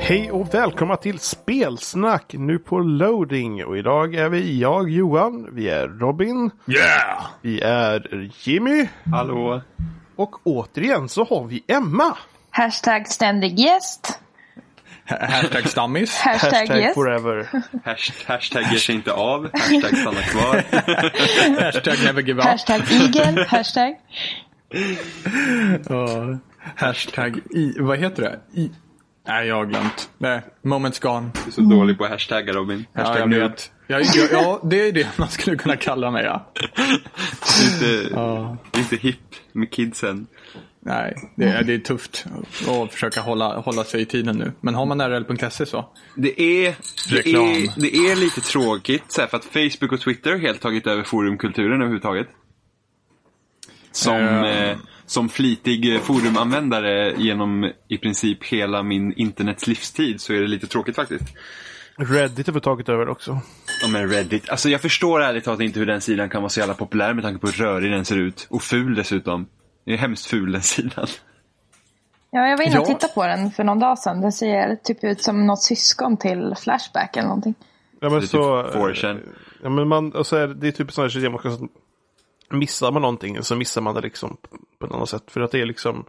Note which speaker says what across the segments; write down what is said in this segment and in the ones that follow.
Speaker 1: Hej och välkomna till Spelsnack nu på loading. Och idag är vi jag Johan, vi är Robin,
Speaker 2: Yeah!
Speaker 1: vi är Jimmy
Speaker 2: Hallå!
Speaker 1: och återigen så har vi Emma.
Speaker 3: Hashtag ständig gäst.
Speaker 2: Hashtag stammis.
Speaker 3: Hashtag, gäst.
Speaker 1: forever.
Speaker 4: Hasht- Hashtag ger sig inte av, hashtag stanna kvar.
Speaker 2: Hashtag never give up.
Speaker 3: Hashtag igel. Hashtag.
Speaker 2: Ja. Hashtag i... Vad heter det? I... Nej, jag har glömt. Nej, moments gone.
Speaker 4: Du är så dålig på hashtaggar Robin.
Speaker 2: Mm. Ja,
Speaker 4: Hashtag
Speaker 2: jag
Speaker 4: nöd.
Speaker 2: vet. Ja, ja, ja, det är det man skulle kunna kalla mig, ja.
Speaker 4: Inte, inte hipp med kidsen.
Speaker 2: Nej, det är, det är tufft att försöka hålla, hålla sig i tiden nu. Men har man RL.se E så.
Speaker 4: Det är, det
Speaker 2: Reklam.
Speaker 4: är, det är lite tråkigt så här, för att Facebook och Twitter har helt tagit över forumkulturen överhuvudtaget. Som,
Speaker 2: Eh.
Speaker 4: eh, som flitig eh, forumanvändare genom i princip hela min internets livstid så är det lite tråkigt faktiskt.
Speaker 1: Reddit har vi tagit över också.
Speaker 4: Ja men Reddit. Alltså jag förstår ärligt talat inte hur den sidan kan vara så jävla populär med tanke på hur rörig den ser ut. Och ful dessutom. Det är hemskt ful den sidan.
Speaker 3: Ja, jag var inne och
Speaker 2: Ja.
Speaker 3: tittade på den för någon dag sedan. Den ser typ ut som något syskon till Flashback eller någonting.
Speaker 1: Ja, men
Speaker 4: Det är
Speaker 1: så, eh,
Speaker 4: typ 4chan.
Speaker 1: ja, men man, och så är, det- det är typ sådana här system man kan, missar man någonting så missar man det liksom på ett annat sätt. För att det är liksom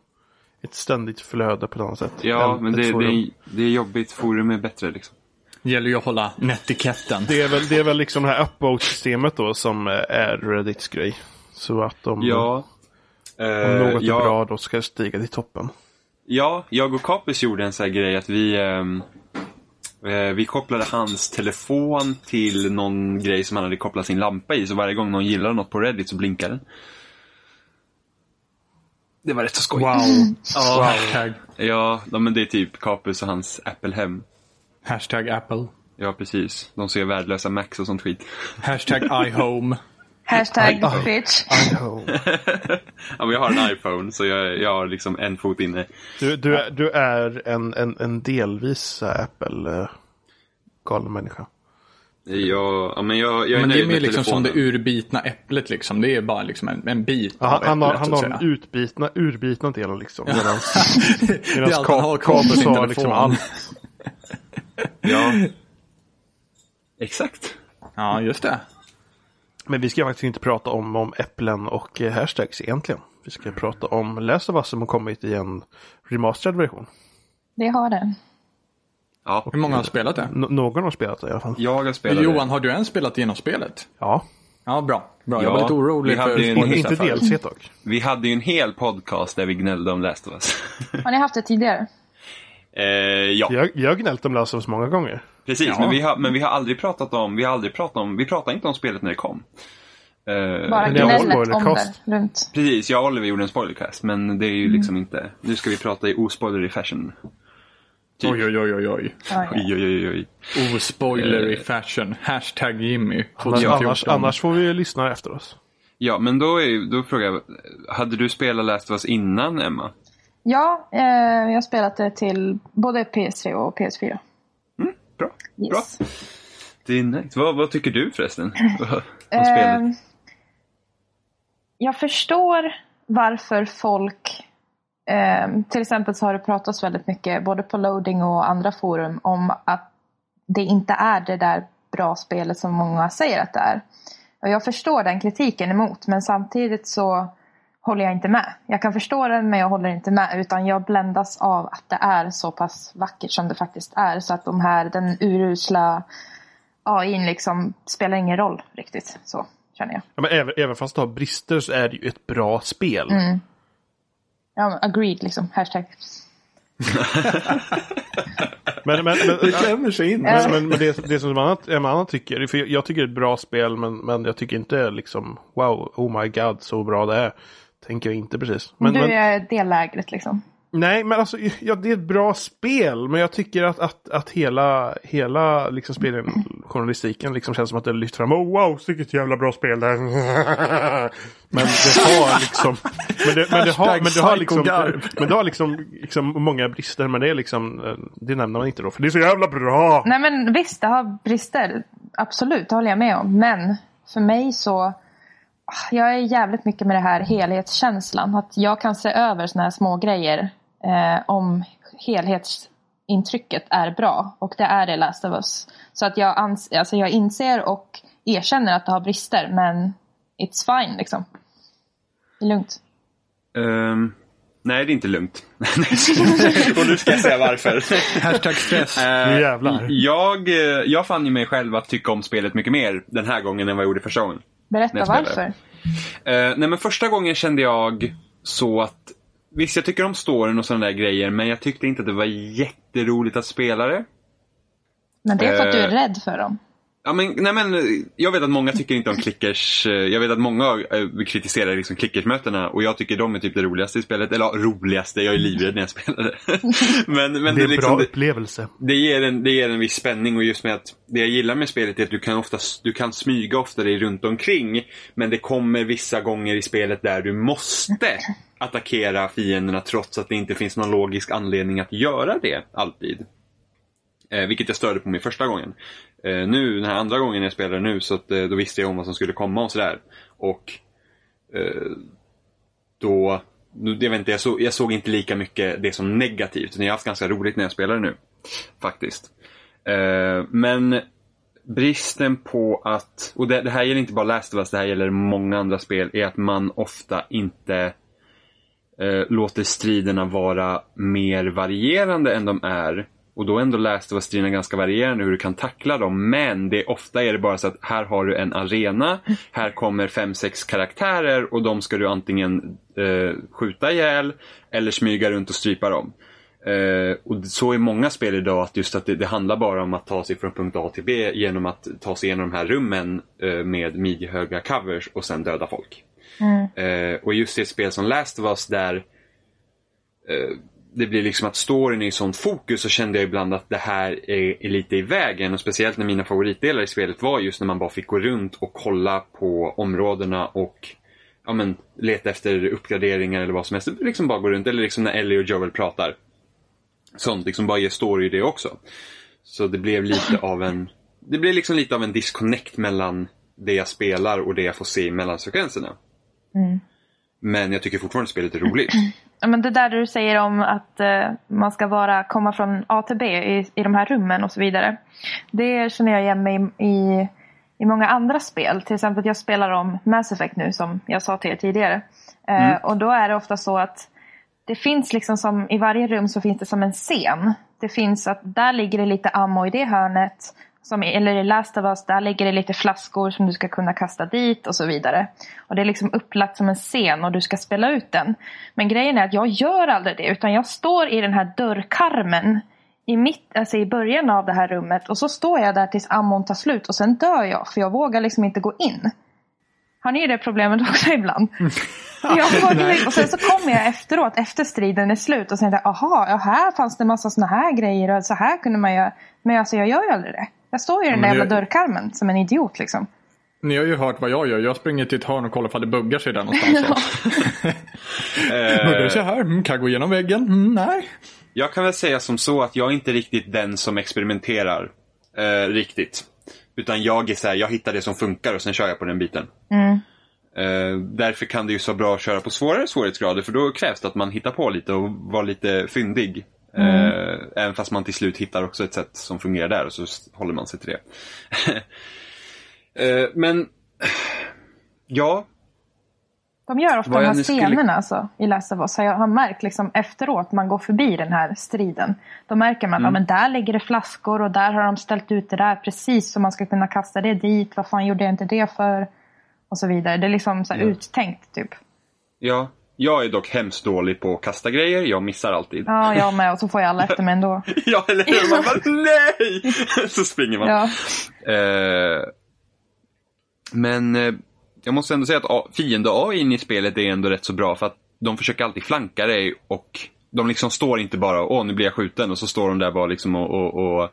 Speaker 1: ett ständigt flöde på ett annat sätt.
Speaker 4: Ja,
Speaker 1: än
Speaker 4: men
Speaker 1: ett
Speaker 4: det,
Speaker 1: forum.
Speaker 4: det, är, det är jobbigt. Forum är bättre liksom.
Speaker 2: Gäller ju att hålla netiketten.
Speaker 1: Det är väl, det är väl liksom det här upvote-systemet då som eh, är Reddits grej. Så att de,
Speaker 4: Ja.
Speaker 1: om
Speaker 4: Eh,
Speaker 1: något
Speaker 4: ja,
Speaker 1: är bra då ska stiga till toppen.
Speaker 4: Ja, jag och Kapus gjorde en sån här grej att vi, ehm, eh, vi kopplade hans telefon till någon grej som han hade kopplat sin lampa i. Så varje gång någon gillade något på Reddit så blinkade den. Det var rätt så skoj.
Speaker 2: Wow.
Speaker 4: Ja.
Speaker 2: Hashtag,
Speaker 4: Ja, ja, men det är typ Kapus och hans Apple-hem.
Speaker 2: hashtag Apple.
Speaker 4: Ja, precis. De ser värdelösa Macs och sånt skit.
Speaker 2: Hashtag iHome.
Speaker 3: Hashtag bitch.
Speaker 4: Ja, men jag har en iPhone, så jag, jag har liksom en fot inne.
Speaker 1: Du, du, är- du är en, en, en delvis så här Apple eh, galen människa.
Speaker 4: Jag, ja, men jag, jag är
Speaker 2: Men det
Speaker 4: nöjd
Speaker 2: är mer
Speaker 4: med
Speaker 2: liksom som
Speaker 4: telefonen.
Speaker 2: det urbitna äpplet liksom. Det är bara liksom en, en bit
Speaker 1: Ja, Han,
Speaker 2: av
Speaker 1: han har,
Speaker 2: äpplet,
Speaker 1: han
Speaker 2: så att
Speaker 1: har den
Speaker 2: säga.
Speaker 1: utbitna, urbitna delen liksom. Medans,
Speaker 2: Det är
Speaker 1: medans
Speaker 2: allt han har
Speaker 1: Ka-
Speaker 2: kvar på
Speaker 1: Kapus
Speaker 2: sin
Speaker 1: har
Speaker 2: telefon.
Speaker 1: liksom allt.
Speaker 4: Ja. Exakt.
Speaker 2: Ja, just det.
Speaker 1: Men vi ska faktiskt inte prata om, om äpplen och eh, hashtags egentligen. Vi ska prata om Last of Us som har kommit i en remasterad version.
Speaker 3: Det har den.
Speaker 4: Ja,
Speaker 2: Hur många har spelat det?
Speaker 1: Nå- någon har spelat det i alla fall.
Speaker 4: jag har spelat det.
Speaker 2: Johan, har du ens spelat igenom spelet?
Speaker 1: Ja,
Speaker 2: Ja, bra. bra. Jag
Speaker 4: Ja,
Speaker 2: var lite orolig
Speaker 4: vi hade
Speaker 2: för
Speaker 4: ju en-
Speaker 2: spoilers
Speaker 1: inte
Speaker 2: därför.
Speaker 1: DLC dock.
Speaker 4: Vi hade ju en hel podcast där vi gnällde om Last of Us.
Speaker 3: Har ni haft det tidigare?
Speaker 4: eh, ja,
Speaker 1: Vi har, vi har gnällt om Last of Us många gånger.
Speaker 4: precis.
Speaker 2: Ja.
Speaker 4: Men, vi har, men vi har aldrig pratat om, vi har aldrig pratat om, vi pratade inte om spelet när det kom. Eh,
Speaker 3: Bara
Speaker 1: Men det har varit
Speaker 3: gnället om
Speaker 1: spoilercast.
Speaker 3: det runt.
Speaker 4: Precis, jag och Oliver gjorde en spoilercast, men det är ju liksom inte, nu ska vi prata i ospoilery fashion.
Speaker 2: Oj, oj, oj, oj, oj.
Speaker 3: Oj.
Speaker 4: Oj, oj, oj, oj.
Speaker 2: Ospoilery fashion. Hashtag Jimmy.
Speaker 1: Men
Speaker 2: 2014.
Speaker 1: annars, annars får vi ju lyssna efter oss.
Speaker 4: Ja, men då, är, då frågar jag, hade du spelat Last of Us innan Emma?
Speaker 3: Ja, eh, jag har spelat det till både PS3 och PS4.
Speaker 4: Bra.
Speaker 3: Yes.
Speaker 4: Bra. Det är nice. Vad, vad tycker du förresten? om spelet?
Speaker 3: Ehm, jag förstår varför folk, ehm, till exempel så har det pratats väldigt mycket både på loading och andra forum om att det inte är det där bra spelet som många säger att det är. Och jag förstår den kritiken emot men samtidigt så håller jag inte med. Jag kan förstå den men jag håller inte med utan jag bländas av att det är så pass vackert som det faktiskt är så att de här, den urusla AIn liksom spelar ingen roll riktigt. Så känner jag.
Speaker 1: Ja, men även, även fast det har brister så är det ju ett bra spel.
Speaker 3: Ja, men agreed liksom. Hashtag.
Speaker 1: Men, men, men,
Speaker 2: Det klämmer sig in.
Speaker 1: men, men, men det, det som man annat, en annan tycker, för jag tycker det är ett bra spel men, men jag tycker inte liksom wow, oh my god så bra det är. Tänker jag inte precis. Men,
Speaker 3: du
Speaker 1: men,
Speaker 3: är det lägret liksom.
Speaker 1: Nej, men alltså ja, det är ett bra spel. Men jag tycker att, att, att hela, hela liksom speljournalistiken liksom känns som att det lyft fram. Oh, wow, vilket jävla bra spel det här. Men det har liksom... Men det, men det, har, men det har liksom... Men det har liksom, liksom många brister. Men det är liksom... eh, Det nämner man inte då. För det är så jävla bra!
Speaker 3: Nej men visst, det har brister. Absolut, det håller jag med om. Men för mig så. ah, Jag är jävligt mycket med det här helhetskänslan. Att jag kan se över såna här små grejer eh, om helhets, intrycket är bra och det är det Last of Us. Så att jag, ans- alltså jag inser och erkänner att det har brister men it's fine liksom. Det är lugnt.
Speaker 4: Ehm, nej, det är inte lugnt. och nu ska jag säga varför.
Speaker 2: Hashtag stress.
Speaker 1: Nu jävlar.
Speaker 4: jag, eh, jag fann ju mig själv att tycka om spelet mycket mer den här gången än vad jag gjorde första gången.
Speaker 3: Berätta
Speaker 4: Jag spelar.
Speaker 3: varför.
Speaker 4: Eh, nej men första gången kände jag så att Visst, jag tycker om storyn och sådana där grejer, men jag tyckte inte att det var jätteroligt att spela det.
Speaker 3: Men det är för att du är
Speaker 4: Eh.
Speaker 3: rädd för dem.
Speaker 4: Ja, men, nej, men, eh, jag vet att många tycker inte om clickers. eh, Jag vet att många eh, kritiserar liksom clickersmötena och jag tycker de är typ det roligaste i spelet. Eller ja, roligaste, jag är livrädd när jag spelar det. men, men
Speaker 1: Det är en
Speaker 4: liksom,
Speaker 1: bra
Speaker 4: det,
Speaker 1: upplevelse.
Speaker 4: det, ger en, det ger en viss spänning och just med att det jag gillar med spelet är att du kan, ofta, du kan smyga ofta dig runt omkring men det kommer vissa gånger i spelet där du måste attackera fienderna trots att det inte finns någon logisk anledning att göra det alltid. Eh, vilket jag störde på mig första gången. Eh, nu, den här andra gången jag spelade nu, så att, eh, då visste jag om vad som skulle komma och sådär. Och eh, då, nu, jag vet inte, jag, såg, jag såg inte lika mycket det som negativt. utan Jag har haft ganska roligt när jag spelade nu. Faktiskt. Eh, men bristen på att, och det, det här gäller inte bara Last of Us, det här gäller många andra spel, är att man ofta inte eh, låter striderna vara mer varierande än de är. Och då är ändå läst vad striderna ganska varierande hur du kan tackla dem. Men det är, ofta är det bara så att här har du en arena, här kommer fem, sex karaktärer och de ska du antingen eh, skjuta ihjäl eller smyga runt och strypa dem. Eh, och så är många spel idag att just att det, det handlar bara om att ta sig från punkt A till B genom att ta sig igenom de här rummen eh, med midjehöga covers och sen döda folk. Eh, och just i ett spel som Last of Us där eh, det blir liksom att storyn är i sånt fokus så kände jag ibland att det här är, är lite i vägen. Och speciellt när mina favoritdelar i spelet var just när man bara fick gå runt och kolla på områdena och ja, men, leta efter uppgraderingar eller vad som helst. Liksom bara gå runt. Eller liksom när Ellie och Joel pratar. Sånt, liksom bara ge story i det också. Så det blev lite av en det blev liksom lite av en disconnect mellan det jag spelar och det jag får se i mellansekvenserna. Men jag tycker fortfarande spelet är roligt.
Speaker 3: Ja, men det där du säger om att eh, man ska vara, komma från A till B i, i de här rummen och så vidare. Det känner jag igen mig i, i, i många andra spel. Till exempel jag spelar om Mass Effect nu som jag sa till er tidigare. Eh, Och då är det ofta så att det finns liksom som i varje rum så finns det som en scen. Det finns att där ligger det lite ammo i det hörnet. Som, i- eller i Last of Us, där ligger det lite flaskor som du ska kunna kasta dit och så vidare. Och det är liksom upplagt som en scen och du ska spela ut den. Men grejen är att jag gör aldrig det utan jag står i den här dörrkarmen i, mitt, alltså i början av det här rummet och så står jag där tills ammon tar slut och sen dör jag för jag vågar liksom inte gå in. Har ni det problemet också ibland? För jag vågar, och sen så kommer jag efteråt, efter striden är slut och sen där, aha, ja, här fanns det massa såna här grejer och så här kunde man göra. Men alltså jag gör ju aldrig det. Jag står ju i den där
Speaker 2: men
Speaker 3: jävla
Speaker 2: det-
Speaker 3: dörrkarmen som en idiot liksom.
Speaker 2: Ni har ju hört vad jag gör. Jag springer till ett hörn och kollar ifall det buggar sig där någonstans. Buggar det sig här? Mm, kan jag gå igenom väggen? Mm, nej.
Speaker 4: Jag kan väl säga som så att jag är inte riktigt den som experimenterar eh, riktigt. Utan jag är så här, jag hittar det som funkar och sen kör jag på den biten. Eh, därför kan det ju så bra att köra på svårare svårighetsgrader för då krävs det att man hittar på lite och var lite fyndig. Eh, även fast man till slut hittar också ett sätt som fungerar där och så s- håller man sig till det. eh, men, ja,
Speaker 3: De gör ofta
Speaker 4: Vad
Speaker 3: de
Speaker 4: jag
Speaker 3: här
Speaker 4: nu skulle-
Speaker 3: scenerna alltså, i Last of Us. Har Jag har märkt liksom, efteråt man går förbi den här striden. Då märker man att
Speaker 4: Mm.
Speaker 3: ja, men där ligger det flaskor och där har de ställt ut det där precis så man ska kunna kasta det dit. Vad fan gjorde jag inte det för? Och så vidare. Det är liksom så här uttänkt typ.
Speaker 4: ja. Jag är dock hemskt dålig på att kasta grejer, jag missar alltid.
Speaker 3: Ja, jag med. Och så får jag alla efter mig ändå.
Speaker 4: Ja, eller hur? Man bara, nej! Så springer man.
Speaker 3: Ja.
Speaker 4: Eh, men eh, jag måste ändå säga att A- fiende A in i spelet är ändå rätt så bra för att de försöker alltid flanka dig och de liksom står inte bara åh nu blir jag skjuten och så står de där bara liksom och, och, och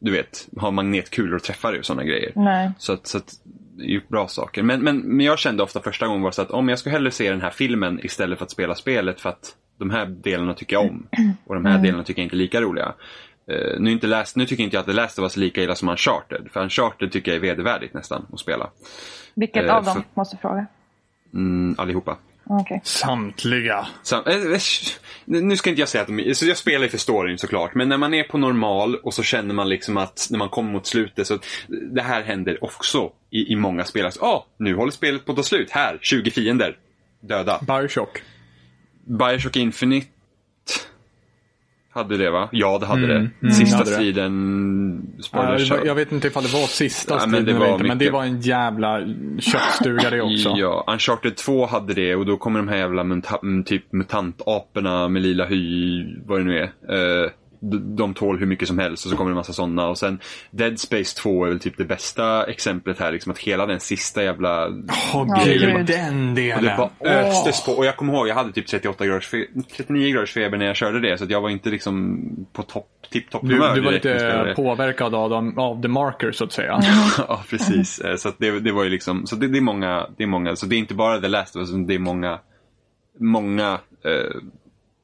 Speaker 4: du vet, har magnetkulor och träffar dig och sådana grejer.
Speaker 3: Nej.
Speaker 4: Så att, så att det är ju bra saker. Men, men, men jag kände ofta första gången var så att om jag ska hellre se den här filmen istället för att spela spelet för att de här delarna tycker jag om och de här
Speaker 3: Mm.
Speaker 4: delarna tycker jag inte är lika roliga. Eh, nu, är inte läst, nu tycker inte jag att The Last of Us är lika illa som Uncharted, för Uncharted tycker jag är vedervärdigt nästan att spela.
Speaker 3: Vilket
Speaker 4: Eh,
Speaker 3: av dem?
Speaker 4: för-
Speaker 3: Måste jag fråga.
Speaker 4: Mm, allihopa.
Speaker 3: Okej.
Speaker 2: Samtliga.
Speaker 4: Sam- eh, eh, sh- nu ska inte jag säga att de, så jag spelar ju för storyn såklart, men när man är på normal och så känner man liksom att när man kommer mot slutet så det här händer också i, i många spel. Alltså, ah, nu håller spelet på att ta slut. Här, 20 fiender. Döda.
Speaker 2: Bioshock.
Speaker 4: Bioshock Infinite hade det va? Ja, det hade
Speaker 2: Mm,
Speaker 4: det.
Speaker 2: mm,
Speaker 4: Sista
Speaker 2: hade det.
Speaker 4: striden,
Speaker 2: Ja,
Speaker 4: spoilers.
Speaker 2: det var, jag vet inte ifall det var sista
Speaker 4: Ja, men
Speaker 2: striden
Speaker 4: det var
Speaker 2: eller inte, men det
Speaker 4: mycket.
Speaker 2: var en jävla köttstuga det också.
Speaker 4: Ja, Uncharted 2 hade det och då kommer de här jävla muta- mm, typ mutantaporna med lila hy, vad det nu är. Eh, d- de tål hur mycket som helst och så kommer det en massa sådana. Och sen Dead Space 2 är väl typ det bästa exemplet här. Liksom att hela den sista jävla...
Speaker 2: Åh
Speaker 3: Ja,
Speaker 2: gud,
Speaker 3: gud.
Speaker 2: den
Speaker 4: Och det
Speaker 2: delen.
Speaker 4: bara östes på. Och jag kommer ihåg, jag hade typ 38 graders fe- 39 graders feber när jag körde det. Så att jag var inte liksom på topp, tipptopp
Speaker 2: Du,
Speaker 4: humör
Speaker 2: du var
Speaker 4: direkt när jag spelade
Speaker 2: lite
Speaker 4: det.
Speaker 2: påverkad av, dem, av the marker så att säga.
Speaker 4: ja, precis. Eh, Så att det, det var ju liksom, så det, det är många, det är många, så det är inte bara The Last of Us, utan det är många, många, eh,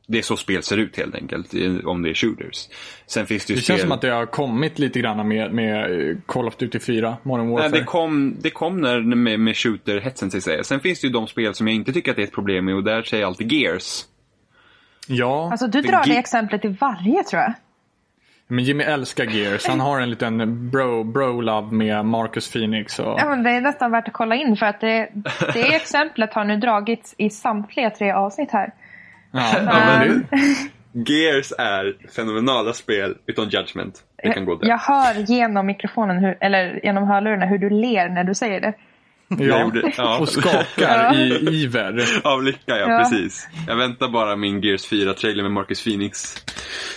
Speaker 4: det är så spel ser ut helt enkelt, i- om det är shooters. Sen finns det ju
Speaker 2: Det
Speaker 4: spel...
Speaker 2: känns som att det har kommit lite grann med, med eh, Call of Duty 4, Modern Warfare.
Speaker 4: Nej, det kom, det kom när, med, med shooter-hetsen så att säga. Sen finns det ju de spel som jag inte tycker att det är ett problem med och där säger jag alltid Gears.
Speaker 2: Ja,
Speaker 3: Alltså du
Speaker 4: Det
Speaker 3: drar det
Speaker 4: gi-
Speaker 3: exemplet i varje tror jag.
Speaker 2: men Jimmy älskar Gears. Han har en liten bro, bro love med Marcus Phoenix. Och...
Speaker 3: Ja, men det är nästan värt att kolla in för att det, det exemplet har nu dragits i samtliga tre avsnitt här.
Speaker 2: Ja, men det,
Speaker 4: Gears är fenomenala spel utan judgment. Det
Speaker 2: Eh,
Speaker 4: kan gå
Speaker 3: Jag,
Speaker 4: där.
Speaker 3: jag hör genom mikrofonen, hur, eller genom hörlurarna, hur du ler när du säger det.
Speaker 4: Jag
Speaker 2: ja.
Speaker 4: gjorde, ja.
Speaker 2: Och skakar i iver.
Speaker 4: Av lycka, ja,
Speaker 3: Ja.
Speaker 4: precis. Jag väntar bara min Gears 4-trailer med Marcus Phoenix.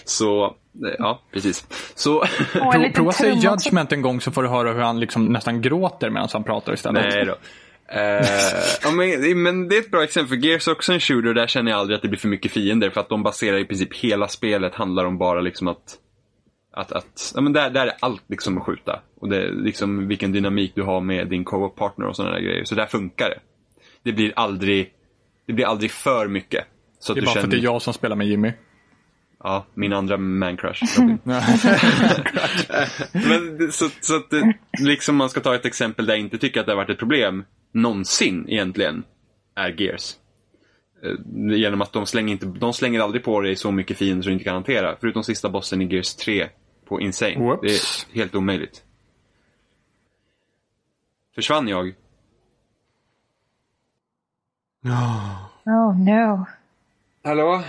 Speaker 4: Så, eh, ja, precis. Så,
Speaker 3: Och en
Speaker 2: Pro,
Speaker 3: liten
Speaker 2: prova säga
Speaker 3: trum också.
Speaker 2: judgment en gång så får du höra hur han liksom nästan gråter medan han pratar istället.
Speaker 4: nej då. Eh, ja, men, men det är ett bra exempel, för Gears är också en shooter och där känner jag aldrig att det blir för mycket fiender för att de baserar i princip hela spelet handlar om bara liksom att att, att ja, men där, där är allt liksom att skjuta. Och det, är liksom vilken dynamik du har med din co-op-partner och sådana där grejer. Så där funkar det. Det blir aldrig, det blir aldrig för mycket. Så att
Speaker 2: Det är
Speaker 4: du
Speaker 2: bara för
Speaker 4: känner,
Speaker 2: att det är jag som spelar med Jimmy.
Speaker 4: Ja, min andra man-crush. Robin. Men det- så, så att det, liksom man ska ta ett exempel där jag inte tycker att det har varit ett problem någonsin egentligen, är Gears. Eh, Genom att de slänger, inte, de slänger aldrig på dig så mycket fiender som du inte kan hantera. Förutom sista bossen i Gears 3 på Insane. Det
Speaker 2: Whoops.
Speaker 4: är helt omöjligt. Försvann jag?
Speaker 3: Oh no.
Speaker 4: Hallå?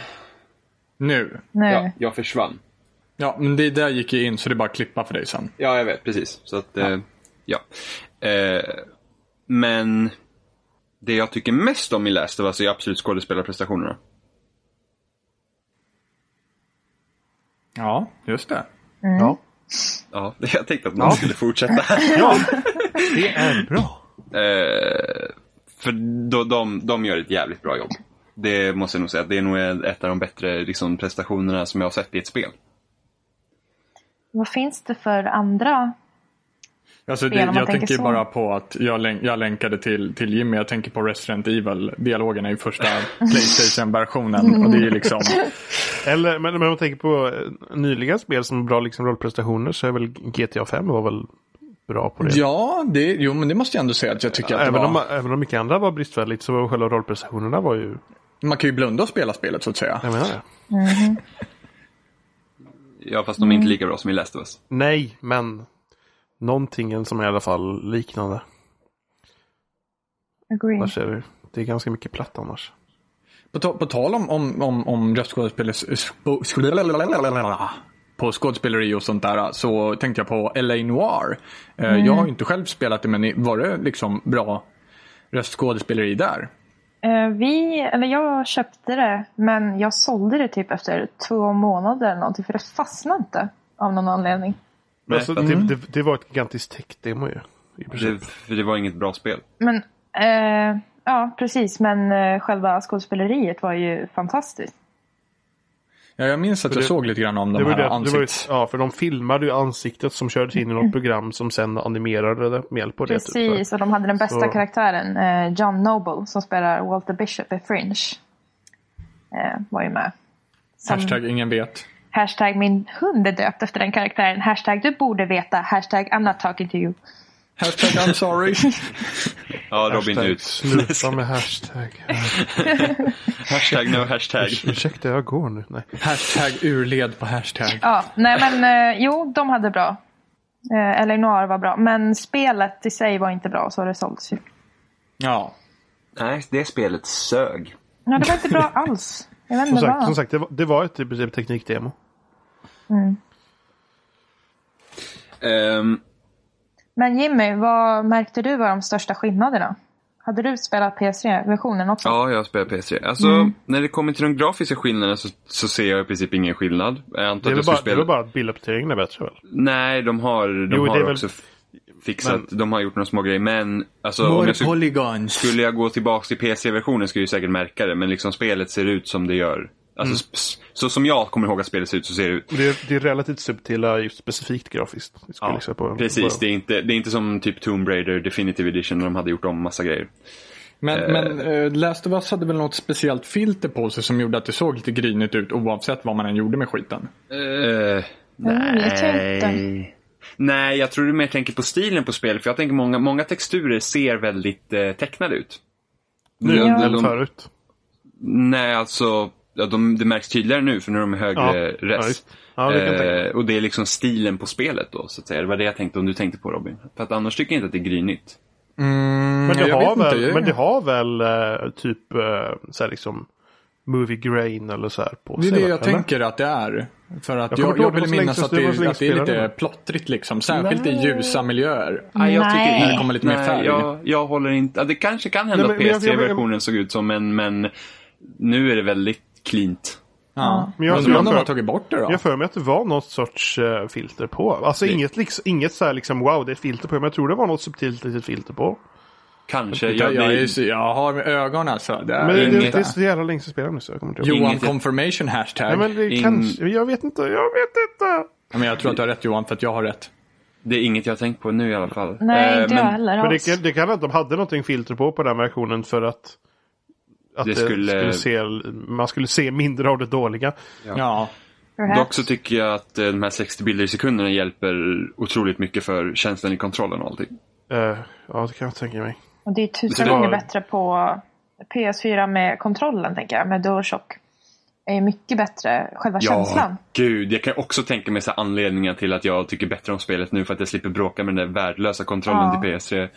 Speaker 2: Nu.
Speaker 3: Nu.
Speaker 4: Ja, jag försvann.
Speaker 2: Ja, men det där gick ju in så det är bara att klippa för dig sen.
Speaker 4: Ja, jag vet. Precis. Så att, eh, ja. Eh, men det jag tycker mest om i Last of Us är alltså absolut skådespelarprestationerna.
Speaker 2: Ja, just det.
Speaker 1: Ja.
Speaker 4: Ja, jag tänkte att man skulle fortsätta.
Speaker 1: ja, det är bra.
Speaker 4: eh, för då, de, de gör ett jävligt bra jobb. Det måste jag nog säga. Det är nog ett av de bättre liksom, prestationerna som jag har sett i ett spel.
Speaker 3: Vad finns det för andra?
Speaker 2: Alltså, det
Speaker 3: Spel om man
Speaker 2: jag tänker,
Speaker 3: tänker så.
Speaker 2: bara på att jag, län- jag länkade till, till Jimmy. Jag tänker på Resident Evil-dialogerna i första Playstation-versionen. Och det är ju liksom...
Speaker 1: Eller, men men om man tänker på eh, nyliga spel som har bra liksom, rollprestationer så är väl GTA 5 var väl bra på det.
Speaker 2: Ja, det, jo, men det måste jag ändå säga att jag tycker att det
Speaker 1: Även om,
Speaker 2: var.
Speaker 1: även om mycket andra var bristfälligt så var själva rollprestationerna var ju...
Speaker 2: Man kan ju blunda och spela spelet så att säga.
Speaker 1: Jag menar det.
Speaker 4: Ja, fast de är inte lika bra som i Last of Us.
Speaker 1: Nej, men någonting som är i alla fall liknande.
Speaker 3: Agree.
Speaker 1: Annars är det, det är ganska mycket platt annars.
Speaker 2: På, ta- på tal om, om, om, om röstskådespelare... sp- sku- På skådespeleri och sånt där så tänkte jag på LA Noir. Eh,
Speaker 3: Mm.
Speaker 2: Jag har ju inte själv spelat det men var det liksom bra röstskådespeleri där?
Speaker 3: Eh, vi, eller jag köpte det, men jag sålde det typ efter två månader eller någonting, för det fastnade inte av någon anledning.
Speaker 1: Men
Speaker 4: Nej,
Speaker 1: alltså,
Speaker 4: fast-
Speaker 1: det, det, det var ett gigantiskt tech-demo ju. I princip.
Speaker 4: Det, för det var inget bra spel.
Speaker 3: Men, eh, ja precis, men eh, själva skådespeleriet var ju fantastiskt.
Speaker 2: Ja, jag minns att
Speaker 1: För
Speaker 2: jag
Speaker 1: det-
Speaker 2: såg lite grann om de
Speaker 1: Det var
Speaker 2: här
Speaker 1: ju det, att- det var ju,
Speaker 2: ansikts...
Speaker 1: ja, för de filmade ju ansiktet som kördes in i något program som sen animerade det med hjälp av det. typ, så här.
Speaker 3: Precis, och de hade den bästa
Speaker 1: Så-
Speaker 3: karaktären, eh, John Noble, som spelar Walter Bishop i Fringe. Eh, var ju med. Som-
Speaker 2: Hashtag ingen vet.
Speaker 3: hashtag min hund är döpt efter den karaktären. Hashtag du borde veta. Hashtag I'm not talking to you.
Speaker 2: Hashtag I'm sorry.
Speaker 4: Ja, Robin
Speaker 1: Hashtag,
Speaker 4: ut.
Speaker 1: Sluta med hashtag.
Speaker 4: Hashtag no hashtag.
Speaker 1: Ursäkta, jag går nu. Nej.
Speaker 2: hashtag urled på hashtag.
Speaker 3: Ja, nej men eh, jo, de hade bra. Eh, Eller Noir var bra, men spelet i sig var inte bra så det såldes ju.
Speaker 2: Ja.
Speaker 4: Nej, det spelet sög.
Speaker 3: Ja, det var inte bra alls. Jag vet
Speaker 1: Som
Speaker 3: inte
Speaker 1: sagt, som
Speaker 3: vad.
Speaker 1: sagt det, var, det var ett i princip teknikdemo.
Speaker 4: Ehm,
Speaker 3: Men Jimmy, vad märkte du var de största skillnaderna? Hade du spelat PS3-versionen också?
Speaker 4: ja, jag spelar PS3. Alltså,
Speaker 1: Mm.
Speaker 4: när det kommer till de grafiska skillnaderna så, så ser jag i princip ingen skillnad. Jag
Speaker 1: Det
Speaker 4: antar
Speaker 1: är
Speaker 4: att
Speaker 1: väl
Speaker 4: jag
Speaker 1: bara,
Speaker 4: skulle
Speaker 1: det är väl
Speaker 4: spela...
Speaker 1: bara att bilduppdateringen är bättre väl?
Speaker 4: Nej, de har, de
Speaker 1: Jo, det är
Speaker 4: har
Speaker 1: väl-
Speaker 4: också f- fixat. De har gjort några små grejer, men... Alltså, om
Speaker 2: More
Speaker 4: jag skulle,
Speaker 2: polygons.
Speaker 4: skulle jag gå tillbaka till PC-versionen skulle jag ju säkert märka det, men liksom spelet ser ut som det gör.
Speaker 1: Mm.
Speaker 4: Alltså, sp- s- så som jag kommer ihåg att spelet ser ut så ser det ut.
Speaker 1: Det är, det är relativt subtila, just specifikt grafiskt. skulle jag gissa på.
Speaker 4: precis,
Speaker 1: På-
Speaker 4: det är, inte, det är inte som typ Tomb Raider Definitive Edition där de hade gjort om massa grejer.
Speaker 2: Men, men eh, Last of Us hade väl något speciellt filter på sig som gjorde att det såg lite grynigt ut oavsett vad man än gjorde med skiten.
Speaker 4: Eh,
Speaker 3: Mm, jag tror inte.
Speaker 4: nej. Nej, jag tror du mer tänker på stilen på spelet. För jag tänker många, många texturer ser väldigt eh, tecknade ut. Mm.
Speaker 1: Nu
Speaker 4: Ja.
Speaker 1: eller
Speaker 4: De-
Speaker 1: förut.
Speaker 4: Nej, alltså. Ja, de, det märks tydligare nu för nu är de i högre
Speaker 1: Ja, ja,
Speaker 4: res.
Speaker 1: visst. Ja, det kan jag tänka mig.
Speaker 4: eh, och det är liksom stilen på spelet då, så att säga. Det var det jag tänkte om du tänkte på Robin. För att annars tycker jag inte att det är grynigt.
Speaker 1: Men det,
Speaker 2: Mm, jag
Speaker 1: har
Speaker 2: vet inte,
Speaker 1: väl,
Speaker 2: jag-
Speaker 1: men det har väl eh, typ eh, så här liksom movie grain eller så här på
Speaker 2: Det är
Speaker 1: sig,
Speaker 2: det
Speaker 1: va?
Speaker 2: jag
Speaker 1: Eller?
Speaker 2: tänker att det är. För att
Speaker 1: Jag kommer
Speaker 2: jag, jag,
Speaker 1: inte ihåg, det var
Speaker 2: vill
Speaker 1: så länge
Speaker 2: minnas
Speaker 1: sedan-
Speaker 2: att
Speaker 1: det
Speaker 2: det,
Speaker 1: var så
Speaker 2: är-
Speaker 1: länge
Speaker 2: att det är
Speaker 1: sedan jag
Speaker 2: lite
Speaker 1: spelade.
Speaker 2: plottrigt liksom. Särskilt i ljusa miljöer.
Speaker 4: Nej, jag tycker
Speaker 3: Nej.
Speaker 2: När det
Speaker 4: inte...
Speaker 2: kommer lite mer färg.
Speaker 4: jag, jag håller inte... ja, Det kanske kan hända
Speaker 1: Nej, men-
Speaker 4: att
Speaker 1: men jag- jag-
Speaker 4: PS3-versionen såg ut som, men, men nu är det väldigt cleant.
Speaker 2: Ja.
Speaker 1: Men jag-
Speaker 2: Undrar om
Speaker 1: jag-
Speaker 2: de har tagit bort det då?
Speaker 1: Jag har för mig att det var något sorts eh, filter på. Alltså
Speaker 4: Det-
Speaker 1: inget, liksom, inget så här liksom wow det är ett filter på. Men jag tror det var något subtilt litet filter på.
Speaker 4: Kanske.
Speaker 2: Jag,
Speaker 4: Jag,
Speaker 2: jag, är,
Speaker 4: det,
Speaker 2: så- jag har ögon alltså. Det är
Speaker 1: Men det, det,
Speaker 4: inget-
Speaker 1: det är så jävla länge sedan jag spelade nu så jag kommer inte ihåg.
Speaker 2: Johan
Speaker 4: Inget-
Speaker 2: confirmation hashtag.
Speaker 1: Nej,
Speaker 2: men,
Speaker 1: men det
Speaker 4: ing-
Speaker 1: kanske, jag vet inte, jag vet inte.
Speaker 2: jag tror att du har rätt Johan för att jag har rätt.
Speaker 4: det är inget jag har tänkt på nu i alla fall.
Speaker 3: Nej,
Speaker 4: Eh,
Speaker 3: inte jag
Speaker 4: men
Speaker 3: heller
Speaker 1: Men det,
Speaker 3: alls.
Speaker 1: kan- det kan vara att de hade någonting filter på på den versionen för att, att
Speaker 4: Det
Speaker 1: det skulle...
Speaker 4: skulle-
Speaker 1: se, man skulle se mindre av det dåliga.
Speaker 2: Ja.
Speaker 4: Dock så tycker jag att eh, de här 60 bilder i sekunderna hjälper otroligt mycket för känslan i kontrollen och allting.
Speaker 1: Eh, ja, det kan jag tänka mig.
Speaker 3: Och det är tusen
Speaker 4: Det var-
Speaker 3: gånger bättre på PS4 med kontrollen, tänker jag, med DualShock. Det är mycket bättre, själva känslan.
Speaker 4: gud. Jag kan också tänka mig så här anledningar till att jag tycker bättre om spelet nu för att jag slipper bråka med den där värdelösa kontrollen
Speaker 3: Ja.
Speaker 4: till PS3.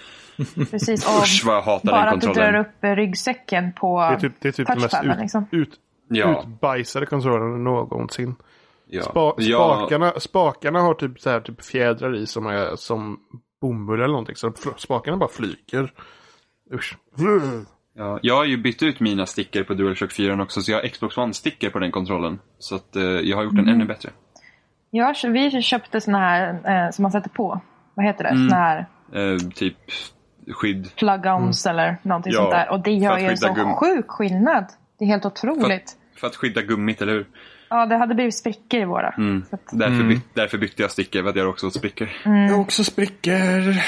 Speaker 3: Precis. Och
Speaker 4: Usch vad jag hatar
Speaker 3: bara
Speaker 4: den
Speaker 3: att du drar
Speaker 4: kontrollen.
Speaker 3: upp eh, ryggsäcken på
Speaker 1: Det är typ, det är typ den mest
Speaker 3: touchpaden.
Speaker 1: ut,
Speaker 3: liksom.
Speaker 1: ut,
Speaker 4: Ja,
Speaker 1: utbajsade kontrollen någonsin.
Speaker 4: ja.
Speaker 1: Spa,
Speaker 4: ja,
Speaker 1: spakarna, spakarna har typ, så här, typ fjädrar i som är som bomull eller någonting. Så fl- spakarna bara flyger. Usch.
Speaker 4: ja. Jag har ju bytt ut mina stickor på DualShock 4 också så jag har Xbox One-stickor på den kontrollen. Så att, eh, jag har gjort
Speaker 3: Mhm.
Speaker 4: den ännu bättre.
Speaker 3: Ja, så vi köpte såna här eh, som man sätter på. Vad heter det?
Speaker 4: Mm.
Speaker 3: Såna här
Speaker 4: Eh, typ skydd.
Speaker 3: plug-ons eller någonting
Speaker 4: Mm. Ja,
Speaker 3: sånt där. Och det
Speaker 4: för
Speaker 3: gör
Speaker 4: att
Speaker 3: ju en
Speaker 4: skydda
Speaker 3: sån
Speaker 4: gum-
Speaker 3: sjuk skillnad. Det är helt otroligt.
Speaker 4: För att skydda gummit, eller hur?
Speaker 3: Ja, det hade blivit sprickor i våra.
Speaker 4: Mm.
Speaker 3: Så att,
Speaker 4: Därför,
Speaker 1: Mm.
Speaker 4: byt, därför bytte jag stickor, för att jag har också åt sprickor.
Speaker 2: Mm. Jag också spricker.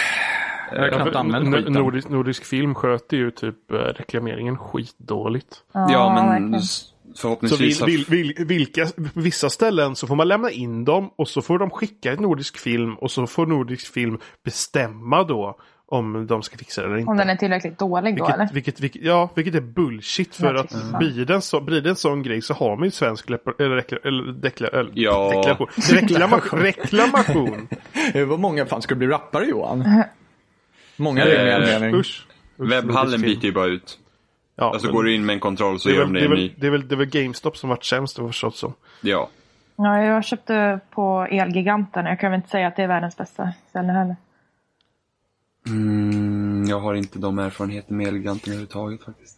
Speaker 2: Jag har knappt använt
Speaker 1: N-
Speaker 2: skiten.
Speaker 1: nordisk, nordisk film sköter ju typ eh, reklameringen skitdåligt.
Speaker 4: Ja, men
Speaker 3: verkligen.
Speaker 4: s-
Speaker 1: Så vil,
Speaker 4: förhoppningsvis... har-
Speaker 1: vil, vil, vilka, på vissa ställen så får man lämna in dem och så får de skicka ett nordisk film och så får nordisk film bestämma då om de ska fixa det eller inte.
Speaker 3: Om den är tillräckligt dålig då eller?
Speaker 1: Vilket, vilket, vilket, ja, vilket är bullshit för
Speaker 3: Ja,
Speaker 1: att
Speaker 3: precis.
Speaker 1: blir det, en så, blir det en sån grej så har man ju svensk lepar, eller, rekla, eller, dekla, eller
Speaker 4: Ja.
Speaker 1: deklaration. Reklamation. reklamation.
Speaker 2: Det var många fan skulle bli rappare Johan.
Speaker 3: Mm.
Speaker 2: Många det
Speaker 4: Eh,
Speaker 2: är
Speaker 1: usch,
Speaker 2: mening.
Speaker 1: usch.
Speaker 4: Webbhallen
Speaker 1: Nordisk film.
Speaker 4: byter ju bara ut.
Speaker 1: Ja,
Speaker 4: Alltså
Speaker 1: men
Speaker 4: går du in med en kontroll så
Speaker 1: det, är
Speaker 4: gör
Speaker 1: väl,
Speaker 4: de
Speaker 1: det, är
Speaker 4: det
Speaker 1: väl,
Speaker 4: ny.
Speaker 1: det, är väl, det är väl GameStop som varit sämst, har jag förstått som.
Speaker 4: Ja.
Speaker 3: Ja, jag köpte på Elgiganten. Jag kan väl inte säga att det är världens bästa ställe heller.
Speaker 4: Mm, jag har inte de erfarenheterna med Elgiganten överhuvudtaget faktiskt.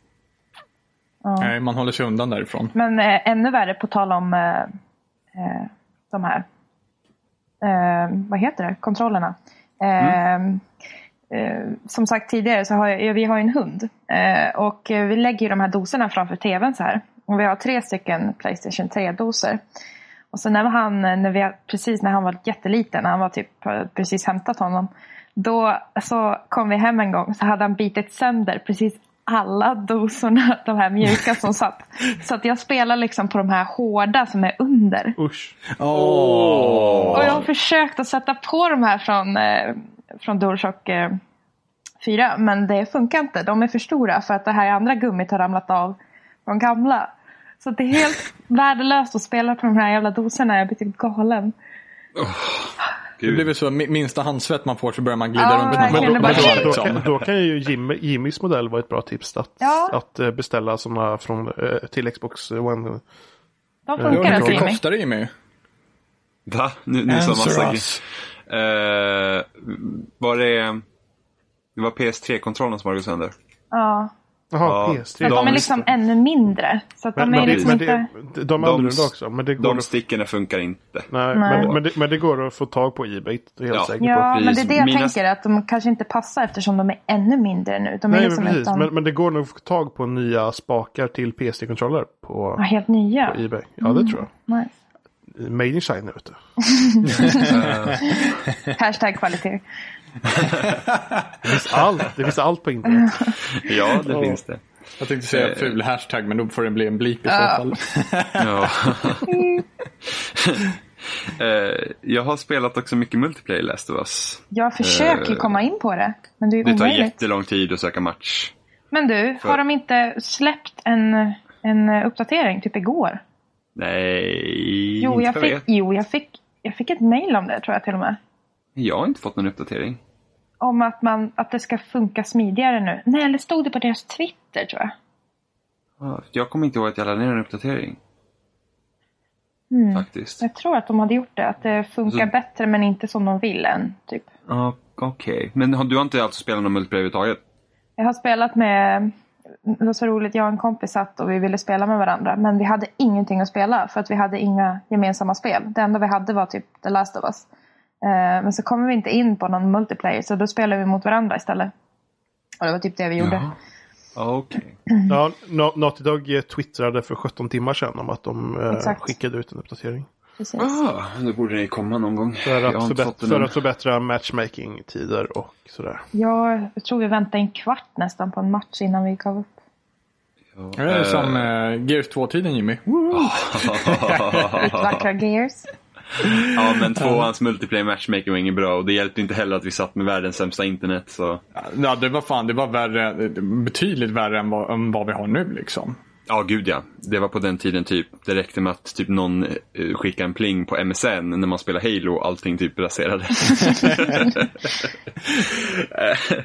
Speaker 2: Nej, man håller sig undan därifrån.
Speaker 3: Men eh, ännu värre på tal om eh, eh, de här, eh, vad heter det, kontrollerna. Eh, eh, som sagt tidigare så har jag, vi har ju en hund eh, och eh, vi lägger ju de här doserna framför tvn så här. Och vi har tre stycken Playstation 3-doser. Och sen när han, när vi, precis när han var jätteliten, när han var typ eh, precis hämtat honom. Då så kom vi hem en gång så hade han bitit sönder precis alla dosorna, de här mjuka som satt. Så att jag spelar liksom på de här hårda som är under.
Speaker 1: Usch.
Speaker 2: Åh!
Speaker 3: Och jag har försökt att sätta på de här från eh, från DualShock eh, 4. Men det funkar inte. De är för stora för att det här andra gummit har ramlat av de gamla. Så det är helt värdelöst att spela på de här jävla doserna. Jag blir typ galen.
Speaker 2: Det blir
Speaker 4: Gud.
Speaker 2: väl så, mi- minsta handsvett man får så börjar man glida
Speaker 3: Ja,
Speaker 2: runt. Men-
Speaker 3: verkligen. Det bara-
Speaker 2: men-
Speaker 1: Då,
Speaker 2: liksom.
Speaker 1: kan, då kan ju Jimmy, Jimmys modell vara ett bra tips att,
Speaker 3: Ja.
Speaker 1: att eh, beställa sådana från, eh, till Xbox One.
Speaker 3: De
Speaker 1: Eh,
Speaker 2: Jo,
Speaker 3: funkar
Speaker 2: hur
Speaker 3: inte
Speaker 2: mycket
Speaker 3: Jimmy.
Speaker 2: kostar det Jimmy?
Speaker 4: Va? Nu, nu sa massa
Speaker 2: Answer
Speaker 4: grejer.
Speaker 2: us.
Speaker 4: Eh, var det... Det var PS3-kontrollen som hade gått sönder.
Speaker 3: Ja.
Speaker 1: Jaha,
Speaker 4: Ja.
Speaker 1: PS3.
Speaker 3: Men de är
Speaker 4: De-
Speaker 3: liksom ännu mindre. Så att de
Speaker 1: Men,
Speaker 3: är
Speaker 1: men, det,
Speaker 3: liksom
Speaker 1: men
Speaker 3: inte...
Speaker 1: det, de är
Speaker 4: De-
Speaker 1: annorlunda också. Men det går,
Speaker 4: De
Speaker 1: att,
Speaker 4: stickorna funkar inte.
Speaker 1: nej,
Speaker 3: Nej.
Speaker 1: Men, men, det, men det går att få tag på Ebay. Det är jag
Speaker 4: Ja.
Speaker 1: helt säker på.
Speaker 3: Ja, men det är det jag
Speaker 4: Mina-
Speaker 3: tänker. Att de kanske inte passar eftersom de är ännu mindre nu. De är
Speaker 1: Nej, men
Speaker 3: liksom
Speaker 1: precis.
Speaker 3: utan...
Speaker 1: Men, men det går nog att få tag på nya spakar till PS3-kontroller
Speaker 3: Ja,
Speaker 1: på,
Speaker 3: helt nya.
Speaker 1: på Ebay. Ja,
Speaker 3: Mm.
Speaker 1: det tror jag.
Speaker 3: Nice.
Speaker 1: Made in China, vet du.
Speaker 3: Hashtag kvalitet.
Speaker 1: Det finns allt, det finns allt på internet.
Speaker 4: Ja, det
Speaker 2: Ja.
Speaker 4: finns det.
Speaker 2: Jag tänkte säga
Speaker 4: Eh.
Speaker 2: ful hashtag, men då får det bli en blip i så
Speaker 3: Ja.
Speaker 2: fall.
Speaker 4: Ja. Eh, jag har spelat också mycket multiplayer i Last of Us.
Speaker 3: Jag försöker
Speaker 4: Eh,
Speaker 3: komma in på det. Men det är ju
Speaker 4: Det tar
Speaker 3: omöjligt.
Speaker 4: jättelång tid att söka match.
Speaker 3: Men du, har de inte släppt en, en uppdatering typ igår?
Speaker 4: Nej,
Speaker 3: Jo,
Speaker 4: inte
Speaker 3: jag
Speaker 4: vad
Speaker 3: fick,
Speaker 4: vet.
Speaker 3: jo jag, fick, jag fick ett mail om det tror jag till och med.
Speaker 4: Jag har inte fått någon uppdatering.
Speaker 3: Om att, man, att det ska funka smidigare nu. Nej, eller stod det på deras Twitter tror jag.
Speaker 4: Ah, Jag kommer inte ihåg att jag laddade ner en uppdatering.
Speaker 3: Mm.
Speaker 4: Faktiskt.
Speaker 3: Jag tror att de hade gjort det. Att det funkar
Speaker 4: Så-
Speaker 3: bättre men inte som de vill än. Typ.
Speaker 4: Ah, Okej, men har- du har inte alltså spelat någon multiplayer överhuvudtaget?
Speaker 3: Jag har spelat med, det var så roligt, jag och en kompis satt och vi ville spela med varandra. Men vi hade ingenting att spela för att vi hade inga gemensamma spel. Det enda vi hade var typ The Last of Us. Eh, Men så kom vi inte in på någon multiplayer så då spelade vi mot varandra istället. Och det var typ det vi gjorde.
Speaker 4: Jaha. Ah, Okej.
Speaker 1: Ja, Na- Naughty Dog eh, twittrade för 17 timmar sedan om att de eh,
Speaker 3: Exakt.
Speaker 1: skickade ut en uppdatering.
Speaker 3: Precis.
Speaker 4: Ah, då borde det ju komma någon gång.
Speaker 1: För
Speaker 4: Jag
Speaker 1: att,
Speaker 4: har inte
Speaker 1: förbättra,
Speaker 4: fått den
Speaker 1: för
Speaker 4: än.
Speaker 1: att förbättra matchmaking-tider och sådär.
Speaker 3: Jag tror vi väntade en kvart nästan på en match innan vi gav upp.
Speaker 2: Det är
Speaker 4: Eh,
Speaker 2: som eh, Gears 2-tiden Jimmy.
Speaker 3: Vackra Gears.
Speaker 4: Ja, men tvåans multiplayer matchmaking var inget bra och det hjälpte inte heller att vi satt med världens sämsta internet. Så.
Speaker 2: Ja, det var fan, det var värre, eh, betydligt värre än vad, än vad vi har nu liksom.
Speaker 4: Ja, gud ja. Det var på den tiden typ, det räckte med att typ någon eh, skickade en pling på MSN när man spelade Halo och allting typ raserades.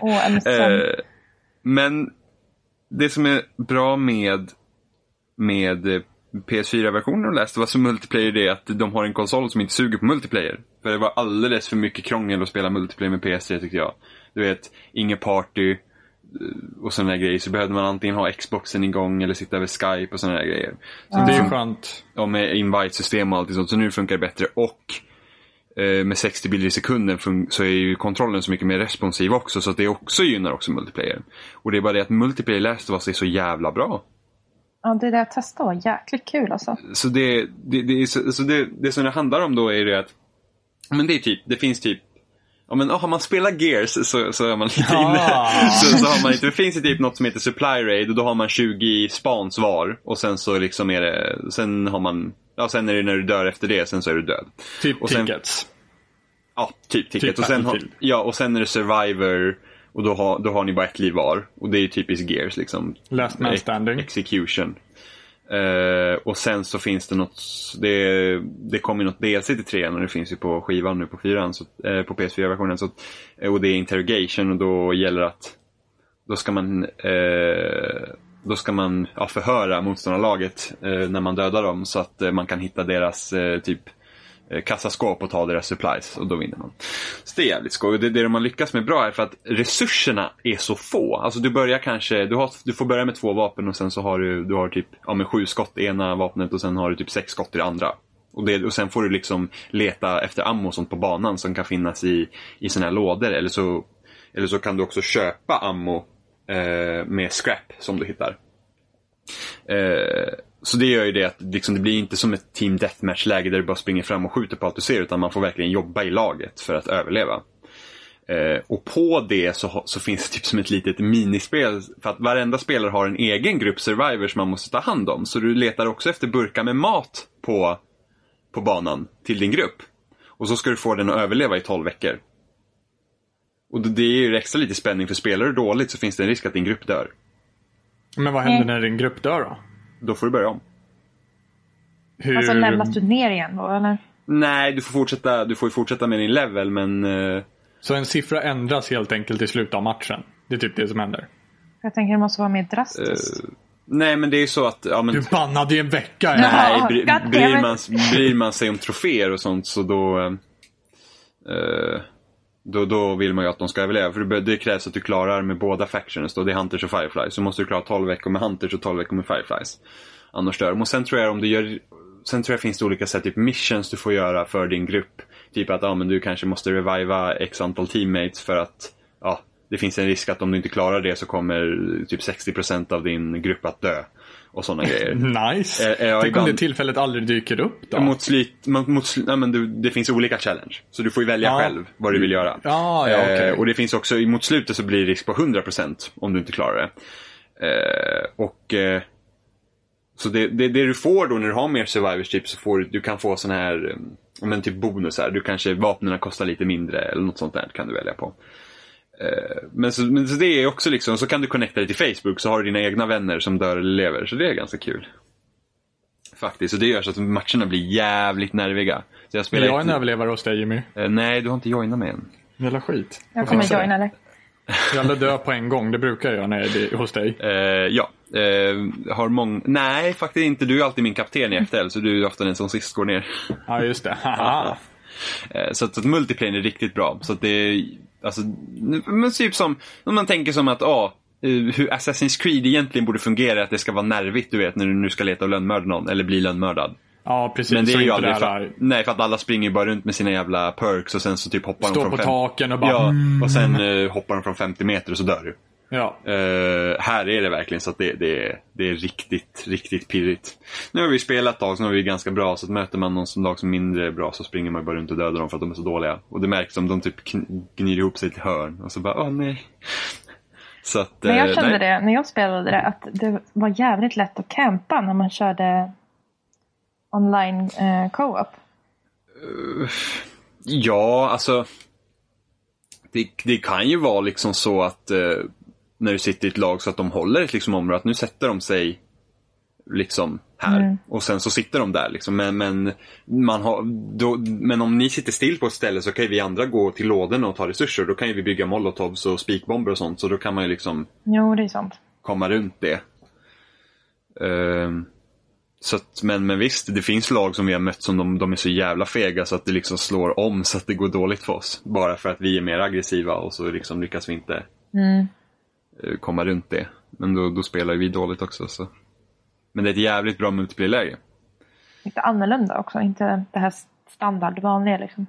Speaker 3: Och en sån.
Speaker 4: Eh, men det som är bra med, med eh, PS4-versionen och läste vad som multiplayer det är att de har en konsol som inte suger på multiplayer. För det var alldeles för mycket krångel att spela multiplayer med PS3 tyckte jag. Du vet, inget party eh, och sådana grejer. Så behövde man antingen ha Xboxen igång eller sitta över Skype och sådana grejer. Så
Speaker 2: Det är
Speaker 4: funkar-
Speaker 2: skönt.
Speaker 4: ja, med invite-system och allt sånt. Så nu funkar det bättre. Och eh, med 60 bilder i sekunden fun- så är ju kontrollen så mycket mer responsiv också. Så att det också gynnar också multiplayer. Och det är bara det att multiplayer i Last of Us är så jävla bra.
Speaker 3: Ja, det där jag testade var jäkligt kul alltså.
Speaker 4: Så det, det, det, är så, så det, det som det handlar om då är det att men det, är typ, det finns typ Ja, men, har man spelat Gears så, så är man lite
Speaker 2: Ja.
Speaker 4: inne. Så, så har man inte, det finns ju typ något som heter Supply Raid och då har man 20 spans var. Och sen så liksom är det, sen har man, ja sen är det när du dör efter det, sen så är du död.
Speaker 2: Typ
Speaker 4: Och sen-
Speaker 2: tickets.
Speaker 4: Ja, typ ticket.
Speaker 2: Typ
Speaker 4: och, sen har,
Speaker 2: Battlefield.
Speaker 4: ja, och sen är det Survivor och då har, då har ni bara ett liv var. Och det är ju typiskt Gears liksom.
Speaker 2: Last man
Speaker 4: Ex-
Speaker 2: standing.
Speaker 4: Execution. Eh, och sen så finns det något, det, det kom ju något DLC till trean och det finns ju på skivan nu på fyran, så, eh, på PS4-versionen. Så, att- eh, och det är interrogation och då gäller att då ska man, eh, då ska man ja, förhöra motståndarlaget eh, när man dödar dem så att eh, man kan hitta deras eh, typ eh, kassaskåp och ta deras supplies och då vinner man. Så det är jävligt skoj. Och det, det de har lyckats med bra är för att resurserna är så få. Alltså du börjar kanske, du, har, du får börja med två vapen och sen så har du, du har typ ja, men sju skott i ena vapnet och sen har du typ sex skott i det andra. Och, det, och sen får du liksom leta efter ammo och sånt på banan som kan finnas i, i såna här lådor. Eller så, eller så kan du också köpa ammo eh, med scrap som du hittar. Eh, så det gör ju det att liksom, det blir inte som ett team deathmatch-läge där du bara springer fram och skjuter på allt du ser utan man får verkligen jobba i laget för att överleva. Eh, och på det så, ha- så finns det typ som ett litet minispel för att varenda spelare har en egen grupp survivors man måste ta hand om. Så du letar också efter burkar med mat på, på banan till din grupp. Och så ska du få den att överleva i 12 veckor. Och det är ju extra lite spänning för spelar du dåligt så finns det en risk att din grupp dör.
Speaker 2: Men vad händer
Speaker 3: Nej.
Speaker 2: när din grupp dör då?
Speaker 4: Då får du börja om.
Speaker 2: Hur...
Speaker 3: Alltså lämnas du ner igen då eller?
Speaker 4: Nej, du får, fortsätta, du får ju fortsätta med din level men eh,
Speaker 2: Så en siffra ändras helt enkelt i slutet av matchen. Det är typ det som händer.
Speaker 3: Jag tänker det måste vara mer drastiskt.
Speaker 4: eh, nej men det är ju så att ja, men,
Speaker 2: Du bannade i en vecka.
Speaker 3: Ja.
Speaker 2: Ja.
Speaker 4: nej, bry,
Speaker 3: God damn
Speaker 4: bryr,
Speaker 3: it.
Speaker 4: man, bryr man sig om troféer och sånt så då, eh, eh, då Då vill man ju att de ska överleva. För det, be- det krävs att du klarar med båda factions. Då, det är Hunters och Fireflies. Så måste du klara 12 veckor med Hunters och 12 veckor med Fireflies. Annars dör de. Och sen tror jag om du gör Sen tror jag finns det olika sätt, typ missions du får göra för din grupp. Typ att ja, men du kanske måste reviva x antal teammates för att ja, det finns en risk att om du inte klarar det så kommer typ 60% av din grupp att dö. Och sådana grejer.
Speaker 2: Nice.
Speaker 4: Eh, eh, ja,
Speaker 2: Tänk
Speaker 4: ibland-
Speaker 2: om det tillfället aldrig dyker upp då.
Speaker 4: Mot slit, mot, mot, sli- nej, men du, det finns olika challenge. Så du får ju välja
Speaker 2: Ja.
Speaker 4: själv vad du vill göra.
Speaker 2: Ja, Ah, ja, okej.
Speaker 4: Eh, och det finns också, mot slutet så blir det risk på 100% om du inte klarar det. Eh, och eh, Så det, det, det du får då när du har mer survivors typ så får du, du kan få sådana här, eh, ja, men typ bonusar. Du kanske, vapnen kostar lite mindre eller något sånt där kan du välja på. Eh, Men så, men så det är också liksom, så kan du connecta dig till Facebook så har du dina egna vänner som dör eller lever. Så det är ganska kul. Faktiskt, och det gör så att matcherna blir jävligt nerviga. Så jag
Speaker 2: Är
Speaker 4: spelar
Speaker 2: jag en
Speaker 4: inte-
Speaker 2: överlevare hos dig Jimmy?
Speaker 4: Eh, Nej, du har inte joinat mig än.
Speaker 2: Jävla skit.
Speaker 3: Jag kommer
Speaker 2: Fixa det.
Speaker 3: joina dig.
Speaker 2: Jävla dö på en gång, det brukar jag när jag är hos dig.
Speaker 4: Eh, ja. Eh, har många... Nej, faktiskt inte. Du är alltid min kapten
Speaker 2: Mm.
Speaker 4: i FTL, så du är ofta den som sist går ner.
Speaker 2: Ja, just det. Haha.
Speaker 4: Eh, så att, så att multiplayer är riktigt bra. Så att det är, alltså, nu- men typ som, om man tänker som att, ah, eh, hur Assassin's Creed egentligen borde fungera, att det ska vara nervigt du vet när du nu ska leta och lönnmörda någon, eller bli lönnmördad.
Speaker 2: Ja, precis.
Speaker 4: Men det
Speaker 2: så
Speaker 4: är ju
Speaker 2: Typ inte
Speaker 4: aldrig
Speaker 2: det
Speaker 4: för,
Speaker 2: här
Speaker 4: Nej, för att alla springer ju bara runt med sina jävla perks och sen så typ hoppar de
Speaker 2: Står
Speaker 4: från
Speaker 2: på
Speaker 4: fem-
Speaker 2: taken och bara... mm.
Speaker 4: Ja,
Speaker 2: Ja.
Speaker 4: och sen eh, hoppar de från 50 meter och så dör du.
Speaker 2: ja.
Speaker 4: Eh, här är det verkligen så att det, det, det är riktigt, riktigt pirrigt. Nu har vi spelat ett tag, så nu är vi ganska bra. Så att möter man någon som lag som är mindre bra så springer man bara runt och dödar dem för att de är så dåliga. Och det märks om de typ kn- gnyr ihop sig till hörn. Och så bara, åh nej. Så att,
Speaker 3: Men
Speaker 4: eh,
Speaker 3: jag kände
Speaker 4: nej.
Speaker 3: det när jag spelade det att det var jävligt lätt att campa när man körde online eh, co-op.
Speaker 4: Ja, alltså. Det, det kan ju vara liksom så att eh, när du sitter i ett lag så att de håller ett liksom område, att nu sätter de sig liksom här och sen så sitter de där. Liksom. Men, men, man har, då, men om ni sitter still på ett ställe så kan ju vi andra gå till lådorna och ta resurser. Då kan ju vi bygga molotovs och spikbomber och sånt så då kan man ju liksom
Speaker 3: Jo, det är sånt.
Speaker 4: komma runt det. Ehm, så att, men, men visst, det finns lag som vi har mött som de, de är så jävla fega så att det liksom slår om så att det går dåligt för oss. Bara för att vi är mer aggressiva och så liksom lyckas vi inte eh, komma runt det. Men då, då spelar vi dåligt också. Så. Men det är ett jävligt bra multiplayer-läge.
Speaker 3: Lite annorlunda också, inte det här standard vanliga liksom.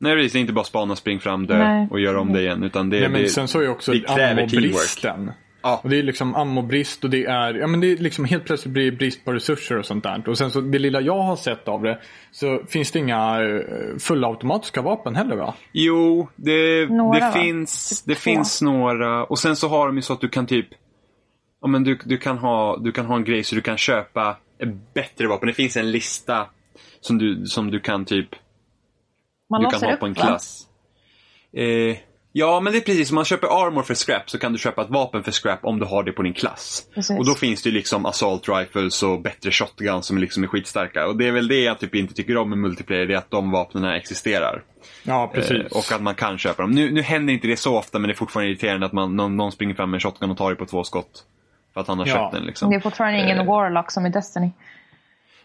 Speaker 4: Nej, precis, det är inte bara spana, spring fram, dö
Speaker 3: Nej.
Speaker 4: och göra om det igen. Utan det,
Speaker 2: Nej, men
Speaker 4: det,
Speaker 2: sen så är ju också
Speaker 4: det kräver
Speaker 2: ammobristen.
Speaker 4: Ja.
Speaker 2: Och det är liksom ammobrist och det är, ja men det är liksom helt plötsligt blir det brist på resurser och sånt där. Och sen så det lilla jag har sett av det så finns det inga eh, fullautomatiska vapen heller va?
Speaker 4: Jo, det,
Speaker 3: Några,
Speaker 4: det
Speaker 3: va?
Speaker 4: finns,
Speaker 3: Typ
Speaker 4: det
Speaker 3: två.
Speaker 4: finns några. Och sen så har de ju så att du kan typ... Ja, men du, du, kan ha, du kan ha en grej så du kan köpa ett bättre vapen. Det finns en lista som du, som du kan typ...
Speaker 3: Man
Speaker 4: du
Speaker 3: låser
Speaker 4: kan ha
Speaker 3: upp
Speaker 4: på en
Speaker 3: va?
Speaker 4: klass. Eh, ja, men det är precis som man köper armor för scrap så kan du köpa ett vapen för scrap om du har det på din klass.
Speaker 3: Precis.
Speaker 4: Och då finns det ju liksom assault rifles och bättre shotguns som liksom är skitstarka. Och det är väl det jag typ inte tycker om med multiplayer, det är att de vapnen existerar.
Speaker 2: Ja, precis.
Speaker 4: Eh, Och att man kan köpa dem. Nu, nu händer inte det så ofta men det är fortfarande irriterande att man, någon, någon springer fram med en shotgun och tar dig på två skott. För att han har
Speaker 2: Ja.
Speaker 4: köpt den liksom.
Speaker 3: Det är fortfarande ingen warlock som i Destiny.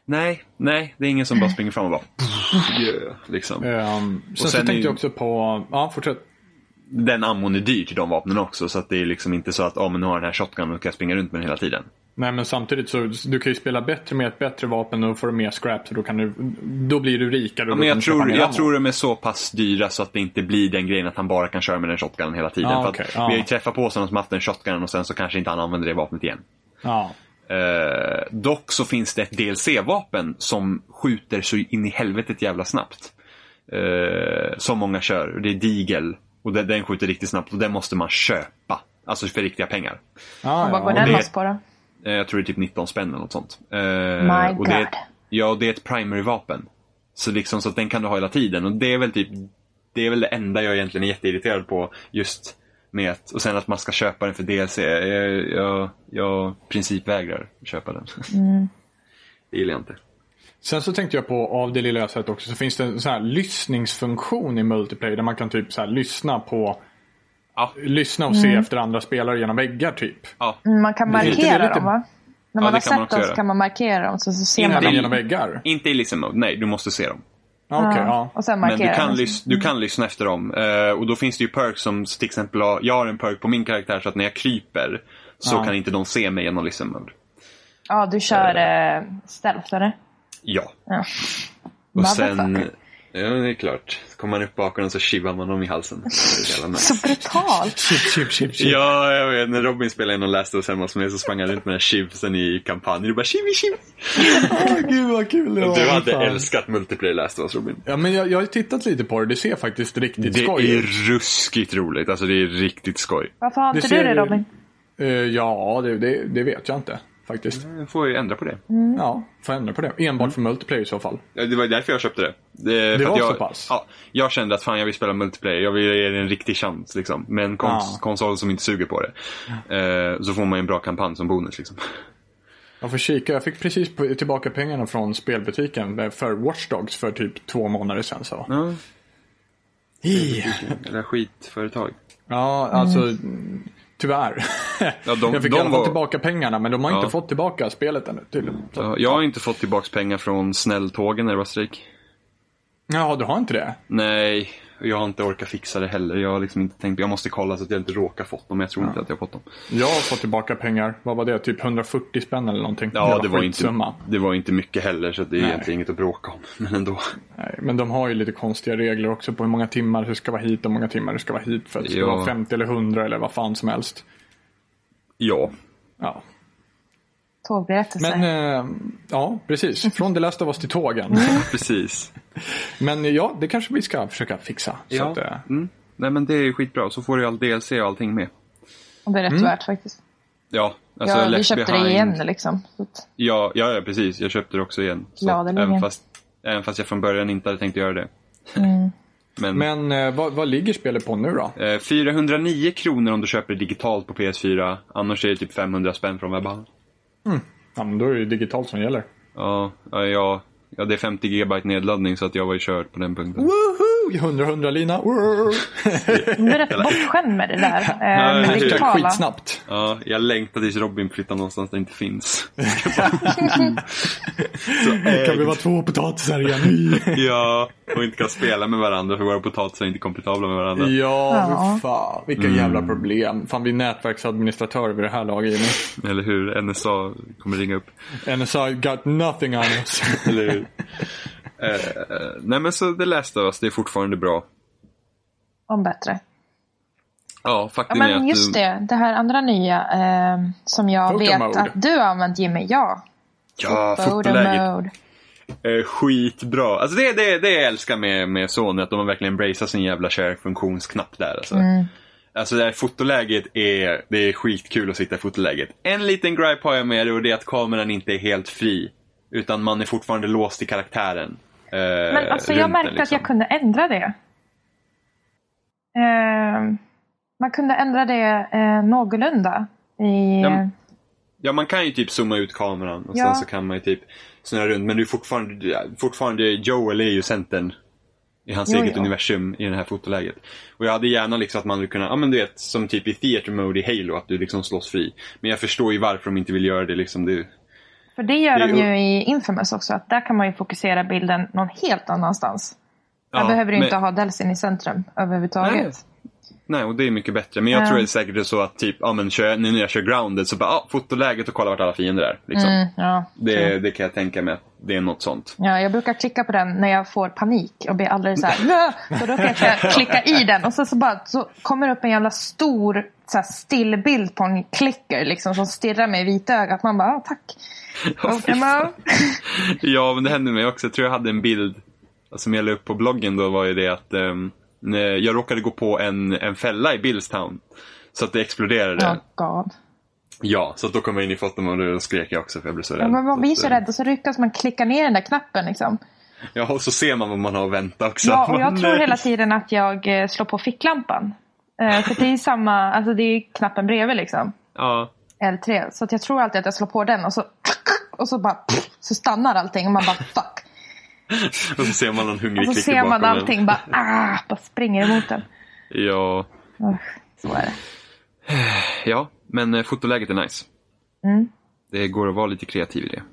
Speaker 4: Nej, nej, det är ingen som bara springer fram och bara... Yeah, liksom.
Speaker 2: Ehm, sen, så
Speaker 4: sen är
Speaker 2: tänkte
Speaker 4: ju-
Speaker 2: jag också på, ja fortsätt.
Speaker 4: Den ammon är dyr till de vapnen också så att det är liksom inte så att oh, men nu har jag den här shotgunen och kan jag springa runt med den hela tiden.
Speaker 2: Nej men samtidigt så du kan ju spela bättre med ett bättre vapen och får du mer scrap så då, kan du, då blir du rikare. och
Speaker 4: Ja,
Speaker 2: då
Speaker 4: men
Speaker 2: kan
Speaker 4: jag
Speaker 2: du köpa
Speaker 4: tror,
Speaker 2: mer
Speaker 4: jag
Speaker 2: ammo.
Speaker 4: tror de är så pass dyra så att det inte blir den grejen att han bara kan köra med den shotgunen hela tiden.
Speaker 2: Ja,
Speaker 4: för
Speaker 2: Ah, okej,
Speaker 4: att
Speaker 2: ja.
Speaker 4: Vi har ju träffat på sådana som haft den shotgunen och sen så kanske inte han använder det vapnet igen.
Speaker 2: Ja.
Speaker 4: Eh, dock så finns det ett DLC-vapen som skjuter så in i helvetet jävla snabbt. Eh, som många kör. Det är Deagle. Och den, den skjuter riktigt snabbt och den måste man köpa. Alltså för riktiga pengar.
Speaker 2: Ja,
Speaker 3: Och vad går
Speaker 2: ja.
Speaker 3: den
Speaker 4: det-
Speaker 3: loss på då?
Speaker 4: Eh, jag tror det är typ 19 spänn eller något sånt. Eh,
Speaker 3: My
Speaker 4: och det är,
Speaker 3: God.
Speaker 4: ett- ja, och det är ett primary-vapen. Så liksom så att den kan du ha hela tiden. Och det är väl typ Det är väl det enda jag egentligen är jätteirriterad på just med att, och sen att man ska köpa den för DLC. Jag, jag, jag principvägrar köpa den. Det gillar jag inte.
Speaker 2: Sen så tänkte jag på, av det lilla jag sett också, så finns det en sån här lyssningsfunktion i multiplayer där man kan typ så här lyssna på
Speaker 4: Ja.
Speaker 2: Lyssna och se efter andra spelare genom väggar typ.
Speaker 4: Ja.
Speaker 3: Mm, Man
Speaker 4: Det
Speaker 3: kan
Speaker 4: är
Speaker 3: markera
Speaker 4: lite- det är lite-
Speaker 3: dem va? När
Speaker 4: Ja,
Speaker 3: man
Speaker 4: det kan
Speaker 3: har
Speaker 4: man
Speaker 3: sett
Speaker 4: också
Speaker 3: dem så
Speaker 4: göra.
Speaker 3: kan man markera dem så, så ser
Speaker 2: Inte
Speaker 3: man dem.
Speaker 2: genom väggar.
Speaker 4: Inte i listen mode, nej du måste se dem.
Speaker 2: Ja, Okej,
Speaker 3: Ja,
Speaker 2: ja.
Speaker 3: Och sen
Speaker 4: Men
Speaker 3: markera
Speaker 4: du kan,
Speaker 3: dem.
Speaker 4: lys- du kan lyssna efter dem. Eh, och då finns det ju perks som till exempel, har- jag har en perk på min karaktär så att när jag kryper så
Speaker 2: Ja.
Speaker 4: kan inte de se mig genom liksom- listen mode.
Speaker 3: Ja, du kör eh, stealth eller?
Speaker 4: Ja.
Speaker 3: Ja.
Speaker 4: Och sen,
Speaker 3: Motherfucker.
Speaker 4: ja det är klart. Så kommer man upp bakom dem så kivar man dem i halsen. Det är så jävla nice.
Speaker 3: Så brutalt!
Speaker 2: Chip, chip, chip, chip.
Speaker 4: Ja, jag vet. När Robin spelade in och läste oss hemma hos mig så sprang han runt med den här chivsen i kampanjen. Du bara chivi chiv.
Speaker 2: Åh, gud vad kul det var.
Speaker 4: Du hade
Speaker 2: fan.
Speaker 4: älskat multiplayer läste oss Robin.
Speaker 2: Ja, men jag, jag har tittat lite på det. Det ser faktiskt riktigt
Speaker 4: Det
Speaker 2: skoj ut.
Speaker 4: är ruskigt roligt. Alltså det är riktigt skoj.
Speaker 3: Varför har
Speaker 2: Det
Speaker 3: inte du
Speaker 2: ser
Speaker 3: det
Speaker 2: ju-
Speaker 3: Robin?
Speaker 2: Eh, ja, det, det, det vet jag inte faktiskt.
Speaker 4: Jag får ju ändra på det.
Speaker 2: Ja, får ändra på det. Enbart
Speaker 4: Mm.
Speaker 2: för multiplayer i så fall.
Speaker 4: Ja, Det var ju därför jag köpte det. Det, för
Speaker 2: var
Speaker 4: att jag,
Speaker 2: så pass?
Speaker 4: Ja, jag kände att fan jag vill spela multiplayer, jag vill ge det en riktig chans. Liksom. Med en kons-
Speaker 2: Ja.
Speaker 4: konsol som inte suger på det. Eh, så får man ju en bra kampanj som bonus. Liksom.
Speaker 2: Jag får kika. Jag fick precis p- tillbaka pengarna från spelbutiken eh, för Watch Dogs för typ två månader sedan. Så.
Speaker 4: Ja,
Speaker 2: Hi.
Speaker 4: eller skitföretag.
Speaker 2: Ja, alltså tyvärr.
Speaker 4: Ja, de-
Speaker 2: jag fick
Speaker 4: de
Speaker 2: i alla fall
Speaker 4: var-
Speaker 2: tillbaka pengarna men de har
Speaker 4: Ja.
Speaker 2: inte fått tillbaka spelet ännu tydligen. Så-
Speaker 4: Ja, jag har inte fått tillbaka pengar från snälltågen när det var strejk.
Speaker 2: Ja, du har inte det?
Speaker 4: Nej, jag har inte orkat fixa det heller. Jag har liksom inte tänkt, jag måste kolla så att jag inte råkar fått dem, men jag tror inte att jag har fått dem.
Speaker 2: Jag har fått tillbaka pengar. Vad var det? Typ 140 spänn eller någonting.
Speaker 4: Ja,
Speaker 2: Jävla
Speaker 4: det var, inte,
Speaker 2: skitsumma.
Speaker 4: det var inte mycket heller, så det är
Speaker 2: Nej.
Speaker 4: egentligen inget att bråka om. Men ändå.
Speaker 2: Nej, men de har ju lite konstiga regler också på hur många timmar du ska vara hit och hur många timmar du ska vara hit för att det ska
Speaker 4: Ja.
Speaker 2: vara 50 eller 100 eller vad fan som helst.
Speaker 4: Ja,
Speaker 2: Ja,
Speaker 3: Tågberättelse.
Speaker 2: men eh, ja, precis. Från det lästa av oss till tågen.
Speaker 4: Mm. precis.
Speaker 2: Men ja, det kanske vi ska försöka fixa. Så
Speaker 4: Ja.
Speaker 2: att, eh,
Speaker 4: Mm. Nej men det är ju skitbra, så får du ju all DLC och allting med.
Speaker 3: Och det är rätt värt faktiskt.
Speaker 4: Ja, mm. alltså
Speaker 3: Ja, vi
Speaker 4: Left
Speaker 3: köpte
Speaker 4: Behind-
Speaker 3: det igen liksom. Så att,
Speaker 4: Ja, ja, ja, precis. Jag köpte det också igen. Så att,
Speaker 3: Gladeligen.
Speaker 4: även, fast, även fast jag från början inte hade tänkt göra det. Men,
Speaker 2: men eh, vad, vad ligger spelet på nu då?
Speaker 4: eh, 409 kronor om du köper det digitalt på PS4. Annars är det typ 500 spänn från webbhallen.
Speaker 2: Ja, men då är det ju digitalt som gäller.
Speaker 4: Ja, ja, ja, ja, det är 50 GB nedladdning så att jag var ju körd på den punkten.
Speaker 2: Woho! 100 100 lina. Woho!
Speaker 3: du är rätt bortskämd med det där. eh,
Speaker 4: Nej,
Speaker 3: med
Speaker 4: det är
Speaker 3: digitala.
Speaker 2: Skitsnabbt.
Speaker 4: Ja, jag längtar tills Robin flyttar någonstans där det inte finns. så,
Speaker 2: Kan vi
Speaker 4: ägt.
Speaker 2: vara två potatisar igen?
Speaker 4: Ja, och inte kan spela med varandra för våra potatisar är inte kompatibla med varandra.
Speaker 2: Ja,
Speaker 3: Ja.
Speaker 2: fy fan. Vilka jävla problem. Fan, vi är nätverksadministratörer vid det här laget Jimmy.
Speaker 4: Eller hur? NSA kommer ringa upp.
Speaker 2: NSI got nothing on us.
Speaker 4: Eller hur? Eh, eh, nej men så det läste oss, det är fortfarande bra.
Speaker 3: Om bättre.
Speaker 4: Ja,
Speaker 3: Ja,
Speaker 4: faktum är
Speaker 3: men
Speaker 4: att
Speaker 3: just
Speaker 4: du...
Speaker 3: det. Det här andra nya eh, som jag
Speaker 2: Photo
Speaker 3: vet
Speaker 2: mode.
Speaker 3: att du har använt Jimmy. Ja.
Speaker 4: Ja,
Speaker 3: Photo
Speaker 4: fotoläget Eh,
Speaker 3: mode.
Speaker 4: är skitbra. Alltså det, det, det jag älskar med, med Sony, att de har verkligen embraceat sin jävla share-funktionsknapp där. Alltså.
Speaker 3: Mm.
Speaker 4: Alltså det här fotoläget är, det är skitkul att sitta i fotoläget. En liten gripe har jag med det och det är att kameran inte är helt fri. Utan man är fortfarande låst i karaktären. eh,
Speaker 3: Men alltså
Speaker 4: runt
Speaker 3: jag
Speaker 4: den,
Speaker 3: märkte att
Speaker 4: liksom.
Speaker 3: jag kunde ändra det. Eh, man kunde ändra det eh, någorlunda. I,
Speaker 4: Ja, men- Ja, man kan ju typ zooma ut kameran och
Speaker 3: Ja.
Speaker 4: sen så kan man ju typ snurra runt. Men du är fortfarande, du är fortfarande Joel är ju centern i hans
Speaker 3: Jo,
Speaker 4: eget
Speaker 3: ja.
Speaker 4: universum i det här fotoläget. Och jag hade gärna liksom att man skulle kunna, ja men du vet, som typ i theater mode i Halo, att du liksom slåss fri. Men jag förstår ju varför de inte vill göra det liksom. Det,
Speaker 3: För det gör
Speaker 4: Det är
Speaker 3: de
Speaker 4: ju-
Speaker 3: ju i Infamous också. Att där kan man ju fokusera bilden någon helt annanstans. Där
Speaker 4: Ja,
Speaker 3: behöver du
Speaker 4: men-
Speaker 3: inte ha Delsin i centrum
Speaker 4: Nej.
Speaker 3: överhuvudtaget.
Speaker 4: Nej, och det är mycket bättre. Men jag
Speaker 3: Ja.
Speaker 4: tror det är säkert det är så att typ, ja men kör, jag- nu när jag kör grounded så bara, ja, fotoläget och kolla vart alla fiender är. Liksom.
Speaker 3: Mm, ja,
Speaker 4: Det, det kan jag tänka mig att det är något sånt.
Speaker 3: Ja, jag brukar klicka på den när jag får panik och blir alldeles så här. "Nö!" Så då kan jag klicka i den och sen så, bara, så kommer det upp en jävla stor så här, stillbild på en klicker liksom, som stirrar mig i vitögat. Man bara, ah, tack. Pokémon.
Speaker 4: Ja, men det hände mig också. Jag tror jag hade en bild som jag la upp på bloggen då var ju det att ehm, när jag råkade gå på en, en fälla i Billstown. Så att det exploderade.
Speaker 3: Oh,
Speaker 4: Ja,
Speaker 3: God.
Speaker 4: så att då kom jag in i fotomodellen och då skrek jag också för jag blev så rädd.
Speaker 3: Ja, men man blir så
Speaker 4: att, eh,
Speaker 3: rädd och så lyckas man klicka ner den där knappen. Liksom.
Speaker 4: Ja, och så ser man vad man har att vänta också.
Speaker 3: Ja, och
Speaker 4: Man-
Speaker 3: jag tror
Speaker 4: nej.
Speaker 3: hela tiden att jag eh, slår på ficklampan. Eh, För det är ju samma, alltså det är knappen bredvid liksom.
Speaker 4: Ja.
Speaker 3: L3. Så att jag tror alltid att jag slår på den och så, och så bara så stannar allting och man bara fuck.
Speaker 4: Och så ser man någon hungrig
Speaker 3: Och så
Speaker 4: klick
Speaker 3: ser man
Speaker 4: bakom en.
Speaker 3: allting bara ah, bara springer emot den.
Speaker 4: Ja.
Speaker 3: Usch, Så är det.
Speaker 4: ja, men eh, fotoläget är nice.
Speaker 3: Mm.
Speaker 4: Det går att vara lite kreativ i det.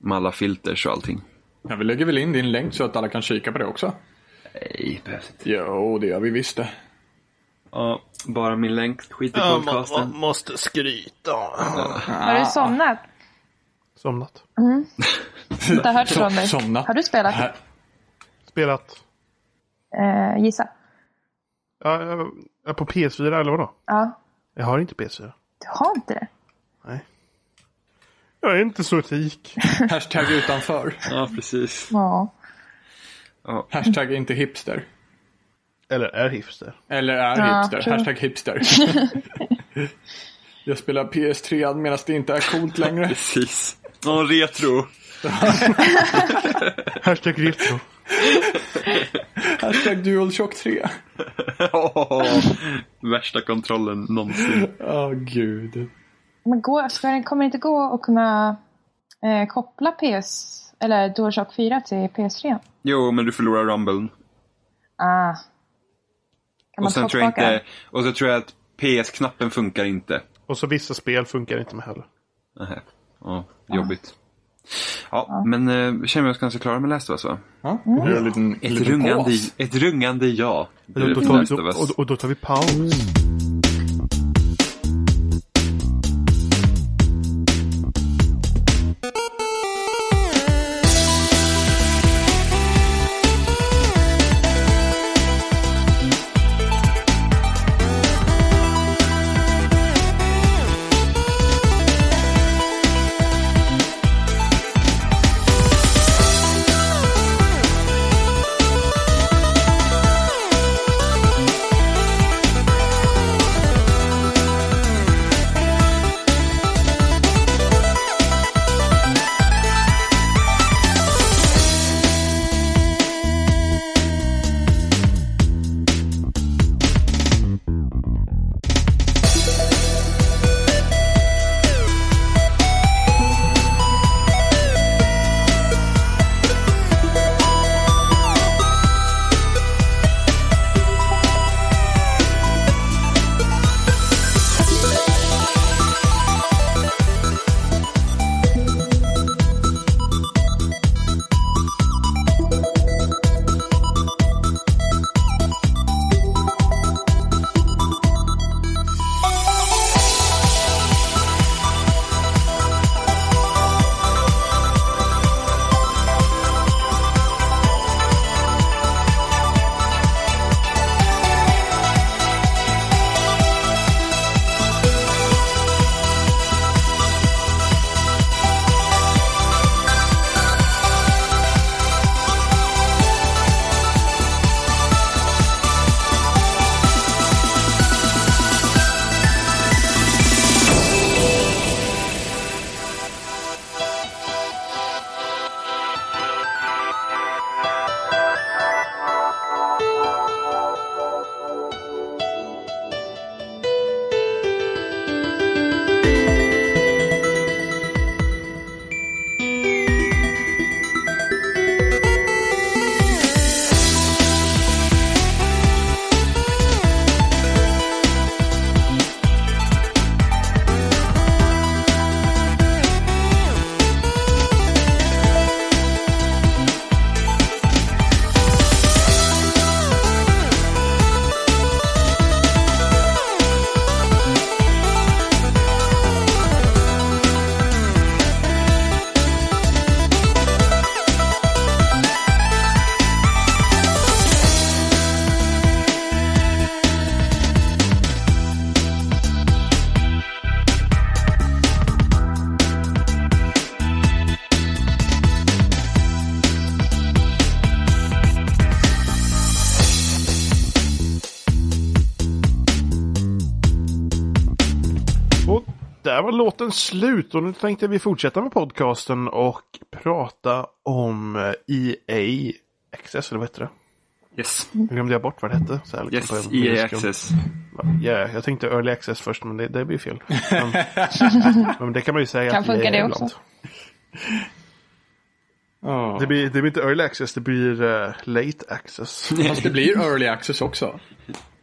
Speaker 4: Med alla filters och allting.
Speaker 2: Ja, vi lägger väl in din länk så att alla kan kika på det också.
Speaker 4: Nej, behövs inte.
Speaker 2: Jo, det gör vi visst det.
Speaker 4: Ja, bara min länk. Skit i podcasten.
Speaker 1: måste skryta.
Speaker 3: Har
Speaker 2: Ah.
Speaker 3: du somnat?
Speaker 1: Somnat.
Speaker 3: Inte hört från dig.
Speaker 2: somnat.
Speaker 3: Har du spelat?
Speaker 2: Här-
Speaker 1: Spelat.
Speaker 3: Eh, gissa.
Speaker 1: Ja, ja, på PS4 eller vadå?
Speaker 3: Ja.
Speaker 1: Jag har inte PS4.
Speaker 3: Du har inte det?
Speaker 1: Jag är inte så etik.
Speaker 2: Hashtag utanför.
Speaker 4: Ja, precis.
Speaker 3: Ja.
Speaker 2: Hashtag inte hipster.
Speaker 1: Eller är hipster.
Speaker 2: Eller är
Speaker 3: Ja,
Speaker 2: hipster.
Speaker 3: tror-
Speaker 2: Hashtag hipster. Jag spelar PS3 medan det inte är coolt längre.
Speaker 4: Precis. Ja, retro.
Speaker 1: Hashtag retro.
Speaker 2: Hashtag DualShock 3.
Speaker 4: Värsta kontrollen någonsin.
Speaker 2: Åh gud.
Speaker 3: Men går, ska den, kommer det inte gå att kunna eh, koppla PS eller DualShock 4 till PS3?
Speaker 4: Jo, men du förlorar rumblen.
Speaker 3: Ah. Kan man
Speaker 4: Och sen tror jag
Speaker 3: tvåspaka den?
Speaker 4: inte... Och så tror jag att PS-knappen funkar inte.
Speaker 1: Och så vissa spel funkar inte med heller.
Speaker 4: Nähä. Ja, jobbigt. Ja, men eh, känner vi oss ganska klara med Last of Us, va?
Speaker 2: Ja, nu är det en liten,
Speaker 4: Ett
Speaker 2: liten
Speaker 4: rungande,
Speaker 2: paus.
Speaker 4: ett rungande ja. Det är
Speaker 1: Och då,
Speaker 4: för Last of
Speaker 1: tar,
Speaker 4: Us.
Speaker 1: och, och då tar vi paus.
Speaker 5: Thank you.
Speaker 1: där var låten slut och nu tänkte vi fortsätta med podcasten och prata om EA Access, eller vad heter det?
Speaker 4: Yes,
Speaker 1: Nu glömde jag bort vad det hette. Så här, liksom
Speaker 4: yes
Speaker 1: på en
Speaker 4: EA
Speaker 1: sekund.
Speaker 4: Access.
Speaker 1: Ja, jag tänkte Early Access först, men det, det blir fel. Men, men det kan man ju säga.
Speaker 3: Kan
Speaker 1: att
Speaker 3: funka
Speaker 1: EA
Speaker 3: det
Speaker 1: är
Speaker 3: också.
Speaker 1: ibland. Det blir, det blir inte Early Access, det blir eh, Late Access.
Speaker 2: Fast det blir early access också.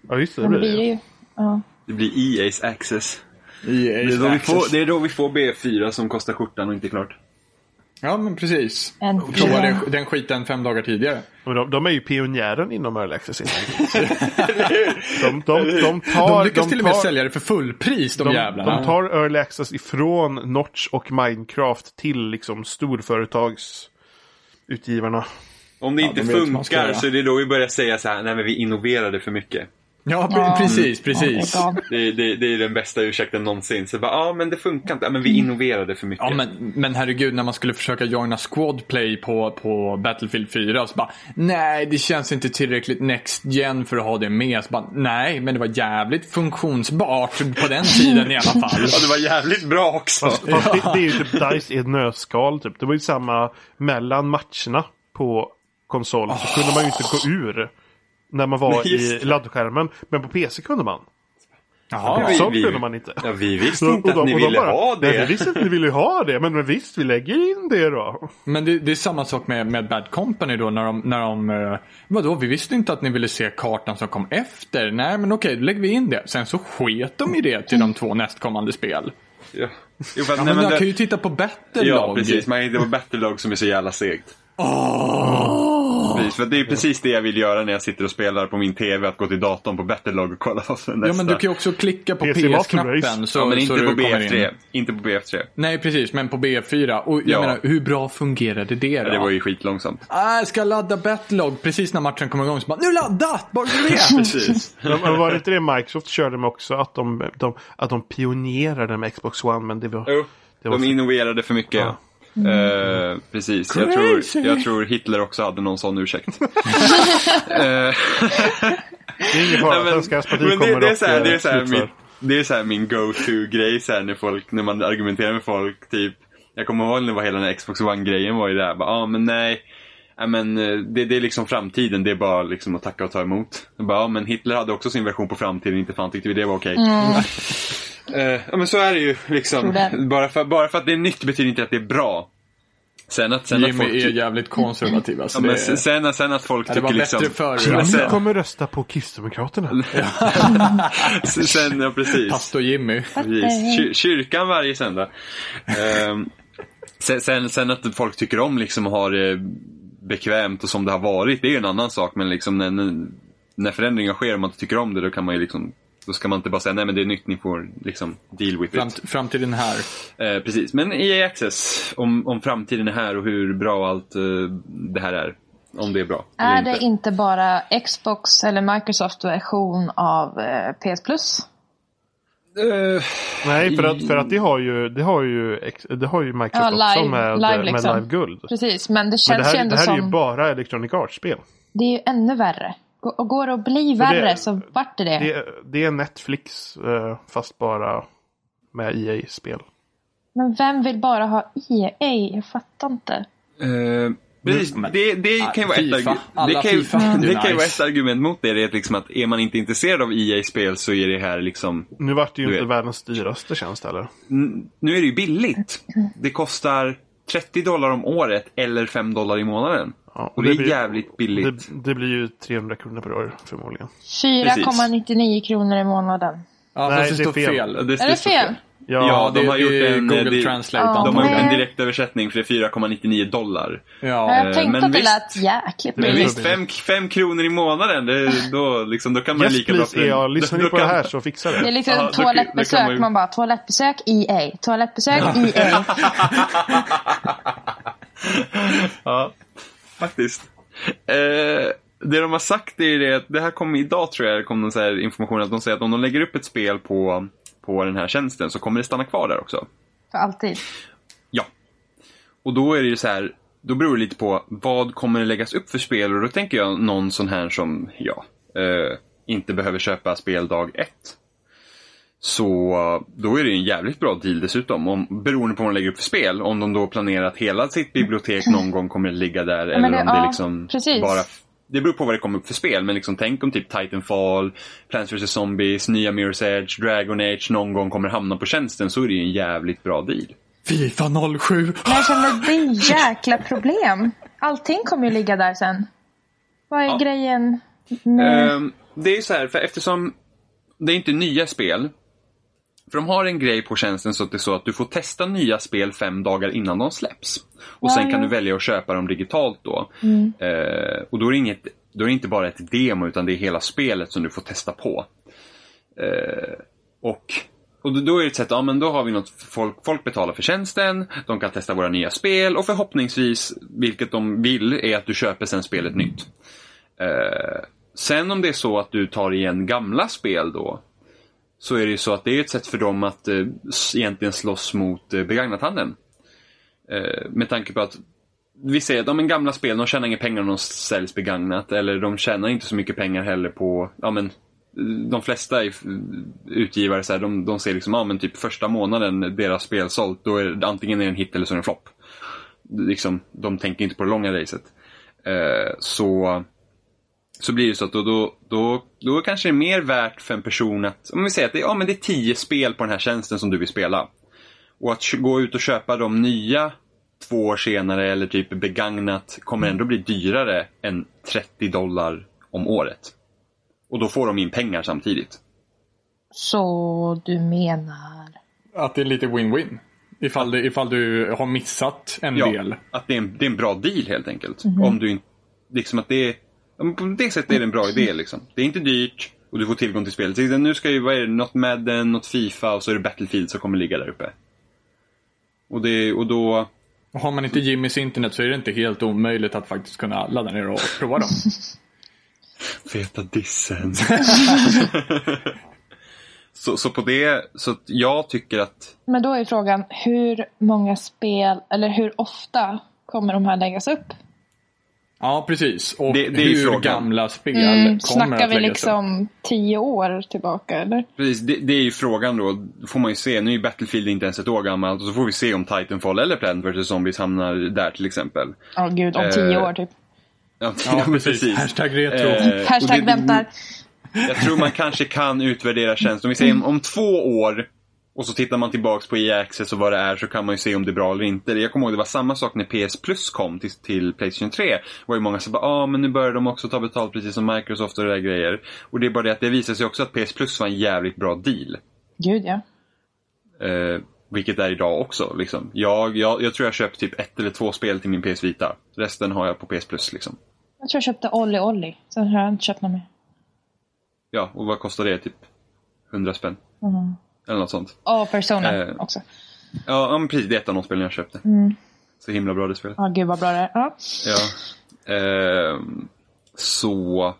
Speaker 1: Ja, just det.
Speaker 3: Men
Speaker 1: det
Speaker 3: det
Speaker 1: blir
Speaker 3: blir
Speaker 1: det.
Speaker 3: ju... Ja.
Speaker 4: Det blir EA's Access.
Speaker 2: EA
Speaker 4: Det är, då vi
Speaker 2: access.
Speaker 4: får, det är då vi får B4 som kostar skjortan och inte är klart.
Speaker 2: Ja, men precis.
Speaker 3: En
Speaker 2: Prova
Speaker 3: fyra.
Speaker 2: den, den skiten fem dagar tidigare.
Speaker 1: Men de, de är ju pionjären inom Early Access. helt enkelt. de, de, de tar...
Speaker 2: de lyckas till och med
Speaker 1: tar-
Speaker 2: sälja det för fullpris, de,
Speaker 1: De,
Speaker 2: jävlarna.
Speaker 1: de tar early access ifrån Notch och Minecraft till liksom storföretagsutgivarna.
Speaker 4: Om det inte
Speaker 2: de vet vad man ska
Speaker 4: funkar
Speaker 2: göra.
Speaker 4: så är det då vi börjar säga så här, nej men vi innoverade för mycket.
Speaker 2: Ja, pre-
Speaker 3: Ja.
Speaker 2: precis, precis.
Speaker 3: Ja, det är bra.
Speaker 4: Det, det, det är den bästa ursäkten någonsin. Så bara, ja men det funkar inte. Ja, men vi innoverade för mycket.
Speaker 2: Ja men, men herregud när man skulle försöka joina squadplay på, på Battlefield 4 så bara nej det känns inte tillräckligt next gen för att ha det med. Så bara, nej men det var jävligt funktionsbart på den tiden i alla fall.
Speaker 4: Ja, det var jävligt bra också.
Speaker 1: Fast det, det är ju typ DICE i ett nötskal typ. Det var ju samma mellan matcherna på konsol. Så kunde man ju inte gå ur. När man var
Speaker 4: Ah. Nej, just
Speaker 1: i laddskärmen. Men på PC kunde man.
Speaker 2: Jaha.
Speaker 1: Sånt
Speaker 4: vi-
Speaker 1: kunde man inte.
Speaker 4: Ja, vi visste
Speaker 1: Så-
Speaker 4: inte att ni
Speaker 1: och de
Speaker 4: ville
Speaker 1: bara,
Speaker 4: ha
Speaker 1: Nej, vi
Speaker 4: det.
Speaker 1: visste inte att ni ville ha det. Men, men visst, vi lägger in det då.
Speaker 2: Men det, det är samma sak med, med Bad Company då när de, när de eh, vadå vi visste inte att ni ville se kartan som kom efter. Nej men okej då lägger vi in det. Sen så sket de i det till de två nästkommande spel.
Speaker 4: Ja. Jo, fast,
Speaker 2: Ja,
Speaker 4: nej,
Speaker 2: men
Speaker 4: men
Speaker 2: man kan ju
Speaker 4: det,
Speaker 2: titta på
Speaker 4: ja,
Speaker 2: Battlelog.
Speaker 4: precis. Men det var Battlelog som är så jävla segt.
Speaker 2: Ah!
Speaker 4: Precis, för det är precis det jag vill göra när jag sitter och spelar på min TV, att gå till datorn på Battlelog och kolla vad som är nästa.
Speaker 2: Ja men du kan ju också klicka på
Speaker 1: PC Master Race.
Speaker 2: PS-knappen så,
Speaker 4: ja, men inte
Speaker 2: så
Speaker 4: på
Speaker 2: du kommer in.
Speaker 4: BF3. Inte på BF3.
Speaker 2: Nej, precis. Men på B4. Och jag
Speaker 4: Ja.
Speaker 2: menar, hur bra fungerade det då?
Speaker 4: Det var ju skitlångsamt.
Speaker 2: ah, jag ska ladda Batlog precis när matchen kommer igång. Så bara, nu laddat! Bara du vet!
Speaker 4: Precis.
Speaker 1: Men, men var det inte det Microsoft körde med också? Att de, de, att de pionjerade med Xbox One. Men det var...
Speaker 4: Jo,
Speaker 1: Det var
Speaker 4: de
Speaker 1: för-
Speaker 4: innoverade för mycket.
Speaker 1: Ja.
Speaker 4: Eh, precis. Jag
Speaker 2: Crazy.
Speaker 4: tror, jag tror Hitler också hade någon sån ursäkt. Eh,
Speaker 1: Det är ingen fara.
Speaker 4: Nej, men-
Speaker 1: Svenska parti
Speaker 4: men
Speaker 1: kommer
Speaker 4: det, det är
Speaker 1: och,
Speaker 4: så här, det är
Speaker 1: eh,
Speaker 4: så här
Speaker 1: slutför.
Speaker 4: min, det är så här min go-to-grej så här när, folk, när man argumenterar med folk. Typ, jag kommer ihåg när det var hela den här Xbox One-grejen var ju där. Ja, ah, men nej. Ja, men, eh, det, det är liksom framtiden, det är bara liksom att tacka och ta emot. Jag Bara, ja, men Hitler hade också sin version på framtiden, inte fan tyckte vi det var okej. Eh, ja, men så är det ju.
Speaker 3: Mm. Tror
Speaker 4: Liksom.
Speaker 3: det.
Speaker 4: Bara, för, bara för att det är nytt betyder inte att det är bra. Sen att, sen att
Speaker 2: Jimmy
Speaker 4: folk...
Speaker 2: är jävligt konservativ. Alltså.
Speaker 4: Ja, men
Speaker 2: det,
Speaker 4: sen, sen, sen att folk
Speaker 2: Ja, det
Speaker 4: tycker
Speaker 2: var
Speaker 4: liksom...
Speaker 2: bättre förr.
Speaker 1: Jimmy
Speaker 2: Alltså.
Speaker 1: kommer rösta på Kristdemokraterna.
Speaker 4: Sen, ja, precis.
Speaker 2: Pastor Jimmy.
Speaker 4: Precis. Kyr- kyrkan varje söndag. Ehm, sen, sen, sen att folk tycker om liksom att ha det bekvämt och som det har varit, det är ju en annan sak. Men liksom när, när- när förändringar sker och man inte tycker om det, då kan man ju liksom då ska man inte bara säga nej men det är nytt, ni får liksom deal with
Speaker 2: Fram,
Speaker 4: it.
Speaker 2: fram till den här.
Speaker 4: Eh, precis, men EA Access, om, om framtiden är här och hur bra allt eh, det här är. Om det är bra
Speaker 3: Är
Speaker 4: eller
Speaker 3: det
Speaker 4: inte.
Speaker 3: inte bara Xbox eller Microsoft version av eh, PS Plus?
Speaker 4: Eh,
Speaker 1: Nej, för att, för att det har ju, det har ju, ex- det har ju
Speaker 3: Ja,
Speaker 1: Microsoft också
Speaker 3: live,
Speaker 1: med
Speaker 3: live,
Speaker 1: med
Speaker 3: liksom.
Speaker 1: live Guld.
Speaker 3: Precis, men det
Speaker 1: Men det
Speaker 3: känns ju
Speaker 1: här,
Speaker 3: ändå
Speaker 1: det här är
Speaker 3: som...
Speaker 1: ju bara Electronic Arts-spel.
Speaker 3: Det är ju ännu värre. Gå- Och går det att bli värre så vart det det.
Speaker 1: Det, det är Netflix eh, fast bara med E EA-spel.
Speaker 3: Men vem vill bara ha EA? Jag fattar inte.
Speaker 4: Eh, Precis, det, det kan ju vara ett,
Speaker 2: FIFA.
Speaker 4: argu-
Speaker 2: Alla
Speaker 4: det kan ju,
Speaker 2: FIFA är ju
Speaker 4: det kan ju vara
Speaker 2: nice.
Speaker 4: ett argument mot det. det är att liksom att är man inte intresserad av EA-spel så är det här liksom...
Speaker 1: Nu vart det ju
Speaker 4: Du
Speaker 1: inte
Speaker 4: vet.
Speaker 1: världens dyraste tjänst heller.
Speaker 4: N- Nu är det ju billigt. Det kostar 30 dollar om året eller 5 dollar i månaden.
Speaker 1: Ja,
Speaker 4: och det, är
Speaker 1: blir-
Speaker 4: jävligt billigt.
Speaker 1: Det, det blir ju 300 kronor per år förmodligen.
Speaker 3: 4,99 kronor i månaden.
Speaker 2: Ja,
Speaker 1: Nej,
Speaker 2: fast det,
Speaker 1: det är
Speaker 2: står
Speaker 1: fel.
Speaker 2: fel. Ja,
Speaker 4: Det- det
Speaker 3: Är det
Speaker 4: står
Speaker 3: fel?
Speaker 1: Ja,
Speaker 4: Ja, de
Speaker 2: det-
Speaker 4: har gjort
Speaker 2: det är
Speaker 4: en- eh,
Speaker 2: Google
Speaker 4: det-
Speaker 2: Translate
Speaker 3: Ja,
Speaker 4: De har gjort en
Speaker 3: Nej.
Speaker 4: direktöversättning för det är 4,99 dollar.
Speaker 3: Ja,
Speaker 2: Ja,
Speaker 3: jag tänkte
Speaker 4: eh, men
Speaker 3: att det
Speaker 4: visst.
Speaker 3: lät jäkligt
Speaker 1: Men
Speaker 4: Men
Speaker 1: det är
Speaker 3: billigt.
Speaker 4: visst,
Speaker 1: så
Speaker 4: 5, kronor i månaden, det, då, liksom, då kan man
Speaker 1: yes
Speaker 4: lika bra...
Speaker 1: please EA, lyssnar ni
Speaker 4: då
Speaker 1: på det
Speaker 4: kan-
Speaker 1: här så fixar
Speaker 3: Det är
Speaker 1: det.
Speaker 3: liksom
Speaker 4: Ja, då- då kan
Speaker 3: toalettbesök.
Speaker 4: man ju-
Speaker 3: Man bara toalettbesök EA. Toalettbesök EA.
Speaker 4: Ja, faktiskt. Eh, det de har sagt är ju det att, det här kom idag tror jag, det kom någon så här information att de säger att om de lägger upp ett spel på, på den här tjänsten så kommer det stanna kvar där också.
Speaker 3: För alltid.
Speaker 4: Ja. Och då är det ju så här, då beror det lite på vad kommer det läggas upp för spel och då tänker jag någon sån här som, ja, eh, inte behöver köpa spel dag ett. Så eh, då är det ju en jävligt bra deal dessutom. Om, beroende på vad de lägger upp för spel. Om de då planerar att hela sitt bibliotek någon gång kommer att ligga där. eller
Speaker 3: det-
Speaker 4: om det
Speaker 3: ja,
Speaker 4: liksom
Speaker 3: precis.
Speaker 4: bara... Det beror på vad det kommer upp för spel. Men liksom, tänk om typ Titanfall, Plants vs Zombies, nya Mirror's Edge, Dragon Age någon gång kommer hamna på tjänsten. Så är det ju en jävligt bra deal.
Speaker 2: Fifa 07!
Speaker 3: Men jag känner att det är jäkla problem. Allting kommer ju ligga där sen. Vad är
Speaker 4: Ja.
Speaker 3: grejen? med-
Speaker 4: Ehm, det är ju så här, för eftersom det är inte nya spel. För de har en grej på tjänsten så att det är så att du får testa nya spel fem dagar innan de släpps. Och sen kan
Speaker 3: Ja, ja. Mm.
Speaker 4: du välja att köpa dem digitalt då. Ehm, och då är, det inget, då är det inte bara ett demo utan det är hela spelet som du får testa på. Ehm, och och då- då är det ett sätt, ja men då har vi något, folk, folk betalar för tjänsten, de kan testa våra nya spel och förhoppningsvis, vilket de vill, är att du köper sen spelet nytt. Eh, sen om det är så att du tar igen gamla spel då, så är det ju så att det är ett sätt för dem att eh, s- egentligen slåss mot eh, begagnathandeln. Eh, med tanke på att vi ser att ja, men gamla spel, de tjänar inga pengar om de säljs begagnat eller de tjänar inte så mycket pengar heller på, ja men eh, de flesta i- utgivare så här, de, de ser liksom, ja men typ första månaden deras spel sålt, då är det, antingen är det en hit eller så är det en flopp. Liksom, de tänker inte på det långa racet. Eh, så så blir det så att då, då, då, då kanske det är mer värt för en person att, om vi säger att det, ja, men det är tio spel på den här tjänsten som du vill spela. Och att kö- gå ut och köpa de nya två år senare eller typ begagnat kommer ändå bli dyrare än 30 dollar om året. Och då får de in pengar samtidigt.
Speaker 3: Så du menar?
Speaker 2: Att det är lite win-win. Ifall, det, ifall du har missat en del. Mhm.
Speaker 4: Att det är, en, det är en bra deal helt enkelt. Om du in- liksom att det är, ja, men på det sättet är det en bra idé. Liksom. Det är inte dyrt och du får tillgång till spelet. Till exempel, Nu ska ju, vad är det, något Madden, något Fifa och så är det Battlefield som kommer ligga där uppe. Och, det, och då,
Speaker 2: Och har man inte Jimmys internet så är det inte helt omöjligt att faktiskt kunna ladda ner och prova dem.
Speaker 4: Feta dissen. så, så på det, så att jag tycker att
Speaker 3: Men då är frågan hur många spel eller hur ofta kommer de här läggas upp?
Speaker 2: Ja, precis. Och
Speaker 4: Det- det är ju
Speaker 2: hur
Speaker 4: frågan.
Speaker 2: gamla spel
Speaker 3: Mm,
Speaker 2: kommer
Speaker 3: snackar
Speaker 2: att
Speaker 3: vi
Speaker 2: läggas upp.
Speaker 3: liksom tio år tillbaka eller?
Speaker 4: Precis, det, det är ju frågan då. Då får man ju se. Nu är ju Battlefield inte ens ett år gammalt. Och så får vi se om Titanfall eller Plant vs Zombies hamnar där till exempel.
Speaker 3: Ja gud, om tio
Speaker 4: Eh,
Speaker 3: år typ. Mm,
Speaker 4: Ja,
Speaker 2: Ja,
Speaker 4: men
Speaker 2: precis. Hashtag retro.
Speaker 4: Eh, och
Speaker 3: Hashtag
Speaker 4: det-
Speaker 3: väntar.
Speaker 4: Jag tror man kanske kan utvärdera tjänsten. Om vi säger om- om två år och så tittar man tillbaks på e-access och vad det är så kan man ju se om det är bra eller inte. Jag kommer ihåg det var samma sak när PS Plus kom till, till Playstation 3. Det var ju många som bara, ah, men nu börjar de också ta betalt precis som Microsoft och det där grejer. Och det är bara det att det visar sig också att PS Plus var en jävligt bra deal.
Speaker 3: Gud ja.
Speaker 4: Eh, vilket är idag också. Liksom. Jag, jag, jag tror jag köpt typ ett eller två spel till min PS Vita. Resten har jag på PS Plus. Liksom.
Speaker 3: Jag tror jag köpte Olli Olli. Sen har jag inte köpt något mer.
Speaker 4: Ja, och vad kostar det? Typ 100 spänn? Eller något sånt.
Speaker 3: Och Persona
Speaker 4: Eh.
Speaker 3: också.
Speaker 4: Ja, ja, men precis. Det är ett av de spelen jag köpte. Så himla bra det spelet.
Speaker 3: Ja gud vad bra det är. Ja.
Speaker 4: Ja. Ehm, så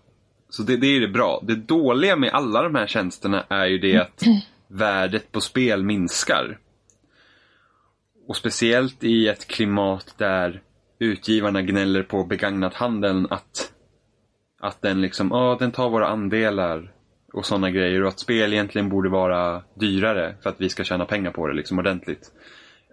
Speaker 4: så det, det är det bra. Det dåliga med alla de här tjänsterna är ju det att värdet på spel minskar. Och speciellt i ett klimat där utgivarna gnäller på begagnathandeln att, att den liksom, ja den tar våra andelar och sådana grejer och att spel egentligen borde vara dyrare för att vi ska tjäna pengar på det liksom ordentligt.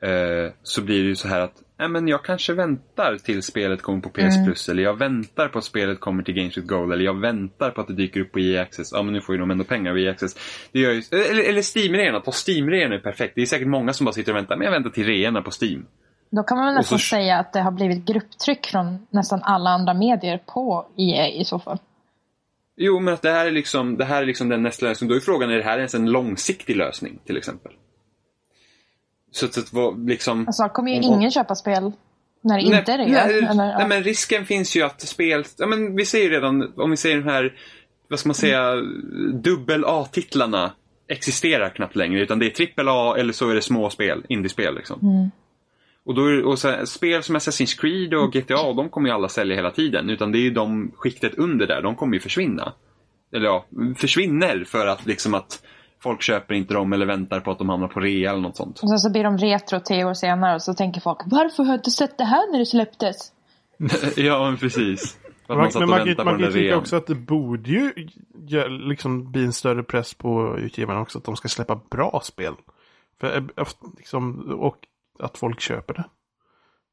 Speaker 4: Eh, så blir det ju så här att Nej, men jag kanske väntar till spelet kommer på PS
Speaker 3: Mm.
Speaker 4: Plus eller jag väntar på att spelet kommer till Games with Gold eller jag väntar på att det dyker upp på EA Access. Ja men nu får ju de ändå pengar av EA Access. Det gör ju, eh, eller, eller Steam-reorna, ta Steam-reorna är perfekt. Det är säkert många som bara sitter och väntar, men jag väntar till reorna på Steam.
Speaker 3: Då kan man väl
Speaker 4: Och så-
Speaker 3: nästan säga att det har blivit grupptryck från nästan alla andra medier på EA i så fall.
Speaker 4: Jo men att det här är liksom, det här är liksom den nästa lösningen. Då är frågan, är det här ens en långsiktig lösning till exempel? Så att, så att vad, liksom...
Speaker 3: Alltså kommer ju
Speaker 4: Om-
Speaker 3: ingen köpa spel när det inte är det.
Speaker 4: Nej,
Speaker 3: eller,
Speaker 4: nej,
Speaker 3: ja.
Speaker 4: men risken finns ju att spel... Ja, men vi ser ju redan, om vi ser den här, vad ska man säga, dubbel A-titlarna existerar knappt längre. Utan det är trippel A eller så är det små spel, indiespel liksom. Och, då, är det- och så här, spel som Assassin's Creed och GTA, de kommer ju alla sälja hela tiden. Utan det är ju de skiktet under där, de kommer ju försvinna. Eller ja, försvinner för att liksom att folk köper inte dem eller väntar på att de hamnar på rea eller något sånt.
Speaker 3: Och sen så blir de retro tio år senare och så tänker folk Varför har jag inte sett det här när det släpptes?
Speaker 4: Ja, men precis. För att
Speaker 1: Man-
Speaker 4: man satt
Speaker 1: men
Speaker 4: och
Speaker 1: man,
Speaker 4: väntade
Speaker 1: kan- man
Speaker 4: på
Speaker 1: kan ju
Speaker 4: den där
Speaker 1: tycka
Speaker 4: rean.
Speaker 1: också att det borde ju gö- liksom bli en större press på utgivarna också att de ska släppa bra spel. För, eh, liksom, och att folk köper det.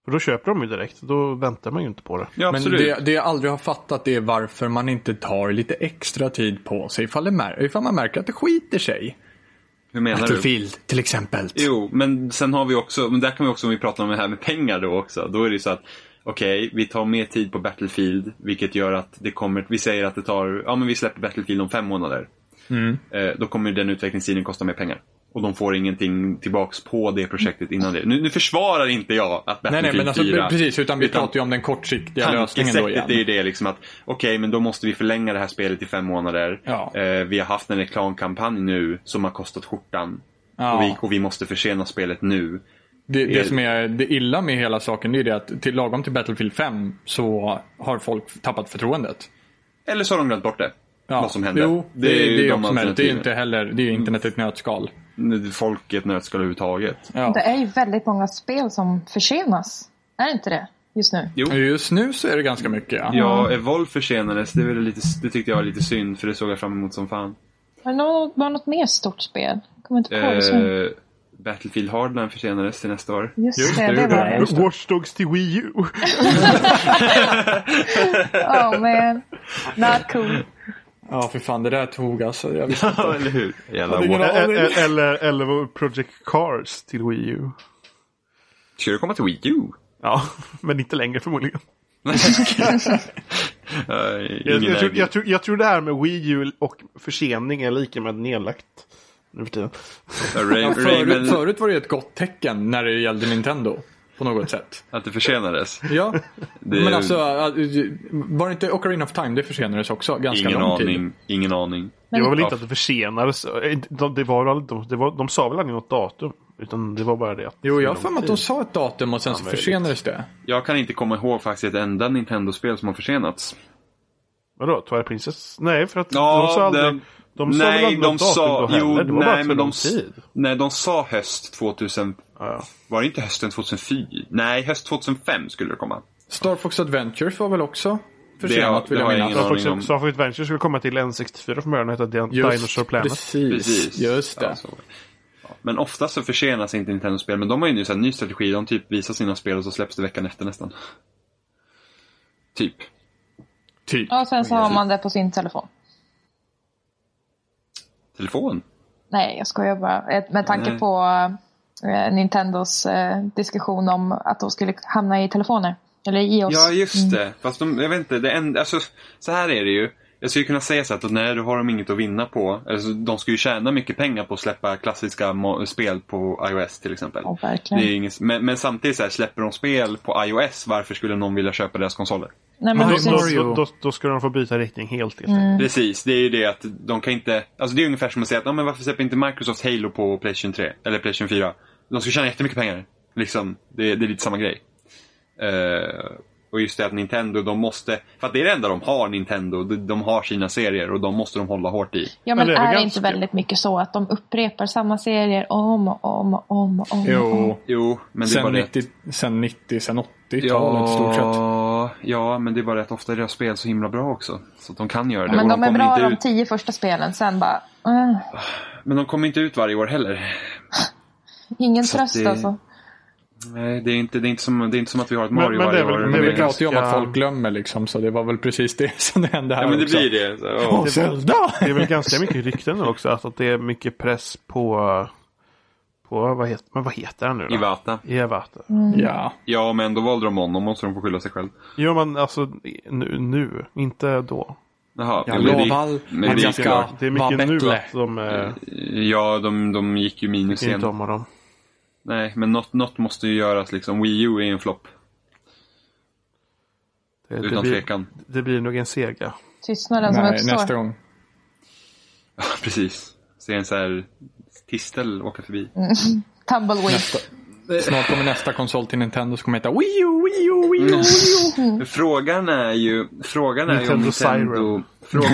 Speaker 1: För då köper de ju direkt, då väntar man ju inte på det.
Speaker 4: Ja,
Speaker 2: Men
Speaker 4: absolut.
Speaker 2: det, det jag aldrig har fattat är varför man inte tar lite extra tid på sig ifall, det mär- ifall man märker att det skiter sig.
Speaker 4: Hur menar du?
Speaker 2: Battlefield till exempel.
Speaker 4: Jo, men sen har vi också, men där kan vi också, om vi pratar om det här med pengar då också, då är det ju så att okej, vi tar mer tid på Battlefield, vilket gör att det kommer, vi säger att det tar, ja men vi släpper Battlefield om fem månader.
Speaker 2: Mm.
Speaker 4: Eh, då kommer den utvecklingstiden kosta mer pengar. Och de får ingenting tillbaks på det projektet innan det. Nu, nu försvarar inte jag att
Speaker 2: Nej,
Speaker 4: Battlefield
Speaker 2: nej, men alltså,
Speaker 4: 4
Speaker 2: precis. Utan vi
Speaker 4: Utan-
Speaker 2: pratar ju om den kortsiktiga lösningen då igen.
Speaker 4: Tankesättet är ju det liksom att okej, men då måste vi förlänga det här spelet i fem månader.
Speaker 2: Ja.
Speaker 4: Eh, vi har haft en reklamkampanj nu som har kostat skjortan.
Speaker 2: Ja.
Speaker 4: Och, vi, och vi måste försena spelet nu.
Speaker 2: Det, det som är det illa med hela saken det är det att till lagom till Battlefield 5 så har folk tappat förtroendet.
Speaker 4: Eller så har de glömt bort det. Vad som hände.
Speaker 2: Jo, det, det,
Speaker 4: ju
Speaker 2: är
Speaker 4: de
Speaker 2: också möjligt. Det är ju inte
Speaker 4: alternativen.
Speaker 2: heller, det är ju internet i ett nötskal.
Speaker 4: Folk i ett nötskal överhuvudtaget.
Speaker 2: Ja.
Speaker 3: Det är ju väldigt många spel som försenas. Är det inte det just nu?
Speaker 2: Just nu så är det ganska mycket. Ja.
Speaker 4: Ja, Evolve försenades. Det, var lite, det tyckte jag var lite synd, för det såg jag fram emot som fan.
Speaker 3: Var det något, var det något mer stort spel? Jag Kommer inte på det just nu.
Speaker 4: Eh, Battlefield Hardline försenades till nästa år.
Speaker 3: Just
Speaker 1: just
Speaker 3: det, det var det.
Speaker 1: Watch Dogs till Wii U.
Speaker 3: Oh man. Not cool.
Speaker 2: ja, för fan det där tog alltså. Jag visste
Speaker 4: Ja, eller hur? Jävla
Speaker 1: eller,
Speaker 4: what-
Speaker 1: eller, Eh, eller, eller Project Cars till Wii U.
Speaker 4: Ska det komma till Wii U?
Speaker 1: Ja, men inte längre förmodligen.
Speaker 4: Eh,
Speaker 1: Jag,
Speaker 4: ingen
Speaker 1: jag, tror,
Speaker 4: idé.
Speaker 1: jag, tror, jag tror det här med Wii U och försening är lika med nedlagt. Nu för tiden.
Speaker 4: Ja, Ray,
Speaker 2: Ja,
Speaker 4: Rayman,
Speaker 2: förut, förut var det ju ett gott tecken när det gällde Nintendo. På något sätt.
Speaker 4: att det försenades.
Speaker 2: Ja.
Speaker 4: Det-
Speaker 2: Men alltså, var det inte Ocarina of Time? Det försenades också ganska
Speaker 4: Ingen
Speaker 2: lång tid.
Speaker 4: aning, ingen aning.
Speaker 1: Det var väl
Speaker 4: Ja.
Speaker 1: inte att det försenades. De, det var, väl aldrig- de, det var, de sa väl aldrig något datum. Utan det var bara det. att-
Speaker 2: Jo, jag har för mig att de sa ett datum och sen så
Speaker 1: möjligt.
Speaker 2: försenades det.
Speaker 4: Jag kan inte komma ihåg faktiskt ett enda Nintendo-spel som har försenats.
Speaker 1: Vadå? Twilight Princess? Nej, för att
Speaker 4: Ja,
Speaker 1: de sa aldrig...
Speaker 4: det-
Speaker 1: de sa väl
Speaker 4: nej,
Speaker 1: aldrig
Speaker 4: de
Speaker 1: något
Speaker 4: sa...
Speaker 1: datum då
Speaker 4: Jo,
Speaker 1: heller. Det var bara
Speaker 4: nej,
Speaker 1: för
Speaker 4: men
Speaker 1: lång
Speaker 4: de, s-
Speaker 1: tid.
Speaker 4: nej, de sa höst 2000...
Speaker 1: Ja.
Speaker 4: Var det inte hösten 2004? Nej, höst 2005 skulle det komma.
Speaker 2: Star Fox Adventures var väl också
Speaker 4: har-
Speaker 2: försenat
Speaker 4: det
Speaker 2: vill
Speaker 4: har jag
Speaker 2: jag
Speaker 4: ingen
Speaker 2: minnas.
Speaker 4: aning.
Speaker 1: Star Fox- Star Fox Adventure skulle komma till N64 från början och heta Din- Dinosaur Planet.
Speaker 2: precis, just det.
Speaker 4: Ja, så var det. Ja, Men ofta så försenas inte Nintendo-spel, men de har ju nu så här ny strategi. De typ visar sina spel och så släpps det veckan efter nästan. Typ.
Speaker 2: Typ.
Speaker 3: Och sen så har man det på sin telefon.
Speaker 4: Telefon?
Speaker 3: Nej, jag skojar bara. Eh, Med tanke
Speaker 4: Nej.
Speaker 3: på eh, Nintendos eh, diskussion om att de skulle hamna i telefoner. Eller i oss.
Speaker 4: Ja, just
Speaker 3: Mm.
Speaker 4: det. Fast de, jag vet inte, det en, alltså, så här är det ju. Jag skulle kunna säga så att nej, då har de inget att vinna på. Alltså, de ska ju tjäna mycket pengar på att släppa klassiska mo- spel på iOS till exempel.
Speaker 3: Ja,
Speaker 4: det
Speaker 3: verkligen.
Speaker 4: är ju inget, men, men samtidigt, så här, släpper de spel på iOS, varför skulle någon vilja köpa deras konsoler?
Speaker 3: Nej,
Speaker 1: Men
Speaker 3: men
Speaker 1: då,
Speaker 3: precis.
Speaker 2: Mario-
Speaker 1: då, då, då skulle de få byta riktning helt. helt. Mm.
Speaker 4: Precis, det är ju det att de kan inte... Alltså det är ungefär som att säga att ja, men varför släpper inte Microsoft Halo på Playstation 3? Eller Playstation 4? De ska tjäna jättemycket pengar. Liksom, det, det är lite samma grej. Eh, och just det att Nintendo, de måste... För att det är det enda de har, Nintendo. De, de har sina serier och de måste de hålla hårt i.
Speaker 3: Ja,
Speaker 1: Men
Speaker 3: men
Speaker 1: det är väl
Speaker 3: är det
Speaker 1: ganska-
Speaker 3: inte väldigt mycket så att de upprepar samma serier om och om och om och om?
Speaker 2: Jo,
Speaker 4: Jo, men det är
Speaker 2: sen
Speaker 4: bara det.
Speaker 2: 90, sen 90, sen 80-talet i stort sett.
Speaker 4: Ja, ja, men det är bara att ofta är deras spel så himla bra också. Så att de kan göra det.
Speaker 3: Ja, men
Speaker 4: och
Speaker 3: de är
Speaker 4: kommer
Speaker 3: bra
Speaker 4: inte
Speaker 3: de
Speaker 4: ut,
Speaker 3: tio första spelen, sen bara... eh,
Speaker 4: men de kommer inte ut varje år heller.
Speaker 3: ingen
Speaker 4: Så
Speaker 3: tröst
Speaker 4: det-
Speaker 3: alltså.
Speaker 4: Nej, det är inte, det är inte, som, det är inte som att vi har ett
Speaker 1: Men-
Speaker 4: Mario
Speaker 1: men det
Speaker 4: varje
Speaker 1: är väl-
Speaker 4: år.
Speaker 1: det är
Speaker 2: Men
Speaker 1: väl
Speaker 2: vi
Speaker 1: är
Speaker 2: pratar ju om att
Speaker 1: ganska-
Speaker 2: folk glömmer liksom, så det var väl precis det som det hände här
Speaker 4: Ja, men det
Speaker 2: också.
Speaker 4: blir det. Så, ja.
Speaker 2: Åh, Zelda!
Speaker 1: Det är väl ganska mycket rykten nu också. Att, att det är mycket press på... på vad, heter, men vad heter han nu då?
Speaker 4: Iwata.
Speaker 1: Iwata.
Speaker 2: Ja.
Speaker 4: Ja, men då valde de honom. måste de få skylla sig själv.
Speaker 1: Jo men alltså nu, nu inte då.
Speaker 4: Jaha.
Speaker 2: Jag
Speaker 4: men det-
Speaker 2: lovar
Speaker 4: men
Speaker 2: att
Speaker 4: det-
Speaker 2: jag ska
Speaker 1: Det är
Speaker 2: vara
Speaker 1: mycket nu
Speaker 2: bättre.
Speaker 1: att de eh,
Speaker 4: Ja, de, de gick ju minus
Speaker 1: tycker inte
Speaker 4: igen.
Speaker 1: om dem.
Speaker 4: Nej, men något, något måste ju göras liksom. Wii U är ju en flopp.
Speaker 1: Det, det,
Speaker 4: Utan
Speaker 1: blir,
Speaker 4: tvekan.
Speaker 1: det blir nog en sega.
Speaker 3: Tystnaden som
Speaker 2: Nej, nästa
Speaker 3: uppstår.
Speaker 2: gång.
Speaker 4: Precis. Ser en så här tistel åka förbi.
Speaker 3: Tumbleweed.
Speaker 2: Snart kommer nästa konsol till Nintendo som kommer heta Wii U, Wii U, Wii U, Wii U.
Speaker 4: Frågan är ju... Frågan är ju om
Speaker 1: Nintendo
Speaker 4: Mm. Nintendo...